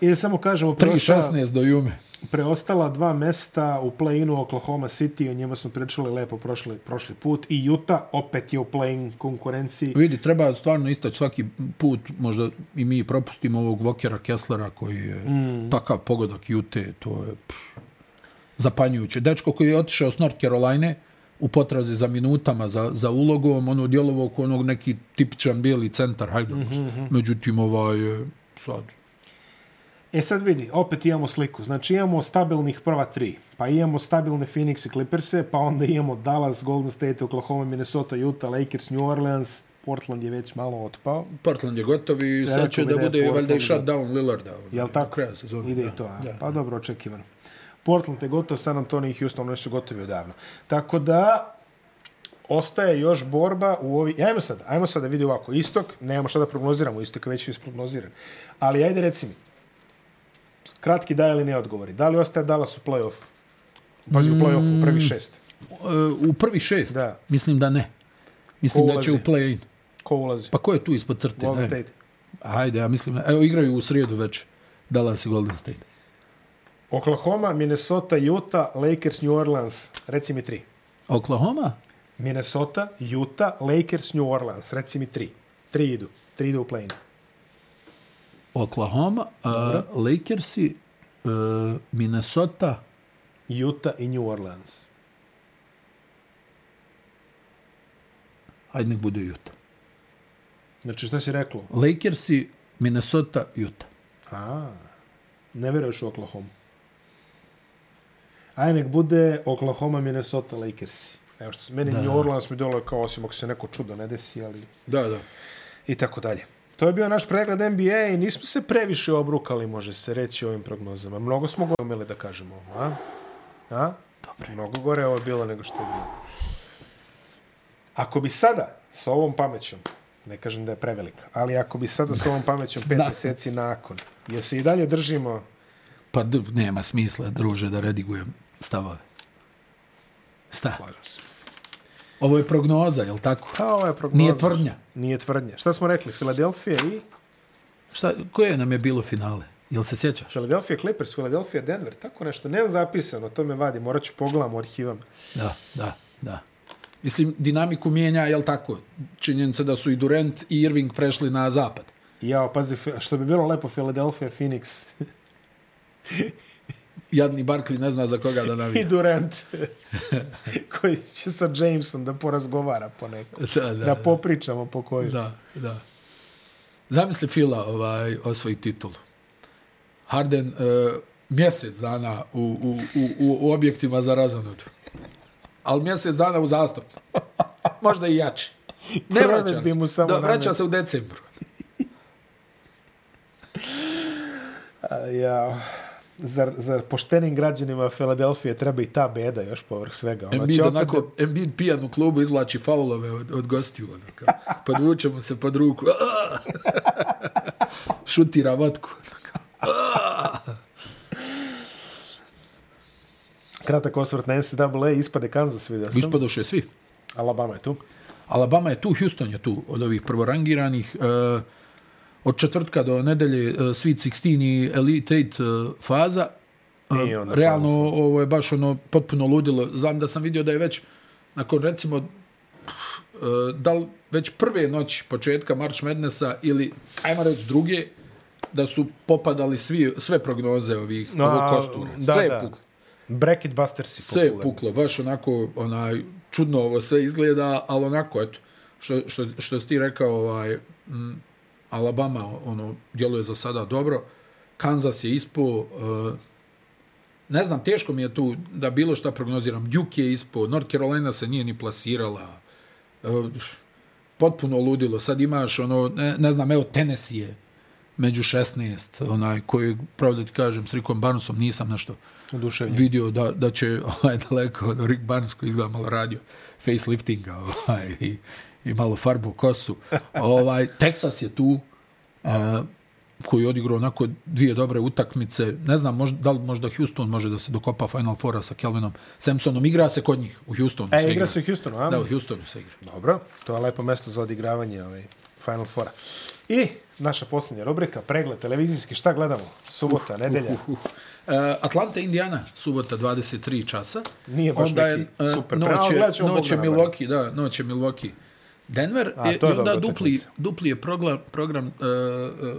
Speaker 1: I da samo kažemo, preosta,
Speaker 2: 3.16 do Jume.
Speaker 1: preostala dva mesta u play-inu Oklahoma City, o njima smo pričali lepo prošli, prošli put, i Utah opet je u play-in konkurenciji.
Speaker 2: Vidi, treba stvarno istaći svaki put, možda i mi propustimo ovog Vokera Kesslera koji je mm. takav pogodak Jute, to je pff, zapanjujuće. Dečko koji je otišao s North Caroline u potrazi za minutama, za, za ulogom, ono djelovo oko onog neki tipičan bijeli centar, hajde,
Speaker 1: Mhm,
Speaker 2: mm -hmm. međutim, ovaj, e, sad,
Speaker 1: E sad vidi, opet imamo sliku. Znači imamo stabilnih prva tri, pa imamo stabilne Phoenix i Clippers, pa onda imamo Dallas, Golden State, Oklahoma, Minnesota, Utah, Lakers, New Orleans, Portland je već malo otpao.
Speaker 2: Portland je gotov i
Speaker 1: Čekamo
Speaker 2: sad će
Speaker 1: da
Speaker 2: da
Speaker 1: je
Speaker 2: bude valjda i
Speaker 1: Portland
Speaker 2: shutdown Lillarda. ono,
Speaker 1: Jel
Speaker 2: do
Speaker 1: tako?
Speaker 2: Kraja sezone.
Speaker 1: Ide
Speaker 2: da,
Speaker 1: i to, a?
Speaker 2: Da.
Speaker 1: pa dobro, očekivano. Portland je gotov, San Antonio i Houston, oni su gotovi odavno. Tako da, ostaje još borba u ovi... E, Ajmo sad, ajmo sad da vidi ovako. Istok, nemamo šta da prognoziramo, istok je već isprognoziran. Ali ajde reci mi, kratki da ili ne odgovori. Da li ostaje Dallas u play-offu? Pazi, u
Speaker 2: Mm.
Speaker 1: play-offu, u prvi šest.
Speaker 2: E, U prvi šest?
Speaker 1: Da.
Speaker 2: Mislim da ne. Mislim
Speaker 1: Ko
Speaker 2: da će u
Speaker 1: ulazi?
Speaker 2: play-in.
Speaker 1: Ko ulazi?
Speaker 2: Pa ko je tu ispod crte?
Speaker 1: Golden
Speaker 2: Ne.
Speaker 1: State.
Speaker 2: Ajde, ja mislim, evo igraju u srijedu već Dallas i Golden State.
Speaker 1: Oklahoma, Minnesota, Utah, Lakers, New Orleans. Reci mi tri.
Speaker 2: Oklahoma?
Speaker 1: Minnesota, Utah, Lakers, New Orleans. Reci mi tri. Tri idu. Tri idu u play-in.
Speaker 2: Oklahoma, uh, Lakersi, uh, Minnesota,
Speaker 1: Utah i New Orleans.
Speaker 2: ajde nek bude Utah.
Speaker 1: Znači, šta si reklo?
Speaker 2: Lakersi, Minnesota, Utah.
Speaker 1: A, ne veruješ u Oklahoma. Aj, nek bude Oklahoma, Minnesota, Lakers. Evo što se, meni da. New Orleans mi dole kao osim ako se neko čudo ne desi, ali
Speaker 2: Da, da.
Speaker 1: i tako dalje. To je bio naš pregled NBA i nismo se previše obrukali, može se reći, ovim prognozama. Mnogo smo gore umeli da kažemo ovo, a? a? Dobre. Mnogo gore je ovo bilo nego što je bilo. Ako bi sada sa ovom pamećom, ne kažem da je prevelika, ali ako bi sada sa ovom pamećom pet
Speaker 2: Da.
Speaker 1: mjeseci nakon, jer se i dalje držimo,
Speaker 2: Pa d- nema smisla, druže, da redigujem stavove. Šta?
Speaker 1: slažem se.
Speaker 2: Ovo je prognoza, je li tako?
Speaker 1: Pa ovo je prognoza.
Speaker 2: Nije tvrdnja.
Speaker 1: Nije tvrdnja. Šta smo rekli? Filadelfija i...
Speaker 2: Šta, koje nam je bilo finale? Jel se sjećaš?
Speaker 1: Philadelphia Clippers, Philadelphia Denver, tako nešto. Nemam zapisano, to me vadi. Morat ću pogledam u arhivama.
Speaker 2: Da, da, da. Mislim, dinamiku mijenja, jel tako? Činjenica da su i Durant i Irving prešli na zapad.
Speaker 1: Ja, pazi, Fi- što bi bilo lepo Philadelphia, Phoenix
Speaker 2: Oh, Jadni Barkley ne zna za koga da
Speaker 1: <laughs> i
Speaker 2: navija.
Speaker 1: Durant, koji će sa Jamesom da porazgovara po nekom.
Speaker 2: Da, da,
Speaker 1: Da popričamo po koju.
Speaker 2: da, da. Zamisli Fila ovaj, osvoji titul. Harden e, mjesec dana u, u, u, u, u objektima za razonodu. Ali mjesec dana u zastupnu. Možda i jači. Ne
Speaker 1: Krevet
Speaker 2: vraća
Speaker 1: bi
Speaker 2: se.
Speaker 1: mu samo
Speaker 2: da, vraća
Speaker 1: nametnuo.
Speaker 2: se u decembru.
Speaker 1: A, Ja, zar, zar poštenim građanima Philadelphia treba i ta beda još povrh svega? Ona
Speaker 2: Embiid
Speaker 1: će Znači, opet
Speaker 2: onako, Embiid pijan u klubu izvlači faulove od, od gostiju. Ono, kao, podvuče mu se pod ruku. <laughs> "Aah!" Šutira vatku. ono, kao.
Speaker 1: Kratak osvrt na NCAA, ispade Kansas, vidio sam.
Speaker 2: Ispadoše svi.
Speaker 1: Alabama je tu.
Speaker 2: Alabama je tu, Houston je tu od ovih prvorangiranih. E, od četvrtka do nedelje e, Sweet 16 i Elite 8 e, faza. E,
Speaker 1: I onda
Speaker 2: realno ovo je baš ono potpuno ludilo. Znam da sam vidio da je već nakon recimo e, da li već prve noći početka March Madnessa ili ajmo reći druge da su popadali svi, sve prognoze ovih
Speaker 1: A,
Speaker 2: ovog kostura.
Speaker 1: da,
Speaker 2: sve je
Speaker 1: da.
Speaker 2: puklo.
Speaker 1: Bracket Busters je
Speaker 2: Sve je
Speaker 1: popularni.
Speaker 2: puklo, baš onako, onaj, čudno ovo sve izgleda, ali onako, eto, što, što, što si ti rekao, ovaj, m, Alabama, ono, djeluje za sada dobro, Kansas je ispo, uh, ne znam, teško mi je tu da bilo šta prognoziram, Duke je ispo, North Carolina se nije ni plasirala, uh, potpuno ludilo, sad imaš, ono, ne, ne znam, evo, Tennessee je, među 16, onaj koji, pravo da ti kažem, s Rickom Barnesom nisam nešto
Speaker 1: Oduševljen.
Speaker 2: vidio da, da će ovaj, <laughs> daleko od Rick Barnes koji izgleda malo radio faceliftinga ovaj, i, i malo farbu kosu. Ovaj, Texas je tu a, koji je odigrao onako dvije dobre utakmice. Ne znam možda, da li možda Houston može da se dokopa Final Foura sa Kelvinom Sampsonom. Igra se kod njih u Houstonu.
Speaker 1: E, igra E, se u Houstonu, a?
Speaker 2: Da, u Houstonu se igra.
Speaker 1: Dobro, to je lepo mesto za odigravanje ovaj, Final Fora. I naša posljednja rubrika, pregled televizijski, šta gledamo? Subota, uh, nedelja. Uh,
Speaker 2: Uh, uh, Atlanta, Indiana, subota 23 časa.
Speaker 1: Nije baš neki
Speaker 2: e,
Speaker 1: super
Speaker 2: noć
Speaker 1: pravo,
Speaker 2: je-
Speaker 1: gledat ćemo
Speaker 2: Noć je
Speaker 1: Bogdana, bar.
Speaker 2: Milwaukee, da, noć je Milwaukee. Denver
Speaker 1: A,
Speaker 2: A, je,
Speaker 1: to je
Speaker 2: i onda
Speaker 1: dobra
Speaker 2: dupli,
Speaker 1: utakmica.
Speaker 2: dupli je progla, program uh,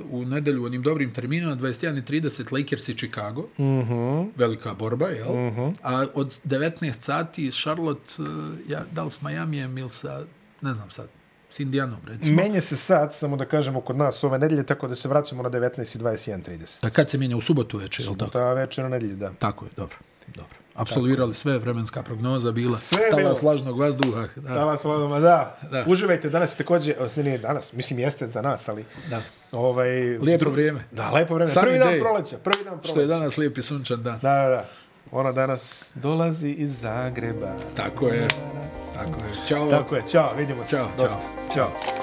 Speaker 2: uh, u nedelju u onim dobrim terminima 21.30 Lakers i Chicago. Mm
Speaker 1: Mhm.
Speaker 2: -hmm. Velika borba, jel? Mm -hmm. A od 19 sati Charlotte, uh, ja, da li s Miamijem ili sa, ne znam sad, s Indianom recimo.
Speaker 1: Menje se sad, samo da kažemo, kod nas ove nedelje, tako da se vraćamo na 19.21.30.
Speaker 2: A kad se mijenja u subotu večer, jel tako?
Speaker 1: Ta večer na nedelju, da.
Speaker 2: Tako je, dobro. dobro. Absolvirali sve, vremenska prognoza bila,
Speaker 1: Sve je
Speaker 2: talas
Speaker 1: bilo.
Speaker 2: vlažnog vazduha. Da.
Speaker 1: Danas, vladama, da. da.
Speaker 2: Da.
Speaker 1: Uživajte, danas je također, ne, ne, danas, mislim jeste za nas, ali...
Speaker 2: Da.
Speaker 1: Ovaj,
Speaker 2: Lijepo vrijeme.
Speaker 1: Da, lepo vreme.
Speaker 2: Sunny
Speaker 1: prvi dan
Speaker 2: day.
Speaker 1: proleća, prvi dan proleća.
Speaker 2: Što je danas lijep i sunčan dan.
Speaker 1: Da, da, da. Ona danas dolazi iz Zagreba.
Speaker 2: Tako je. Tako je. Ćao.
Speaker 1: Tako je, čao, vidimo se.
Speaker 2: Ćao,
Speaker 1: Dosta. Ćao.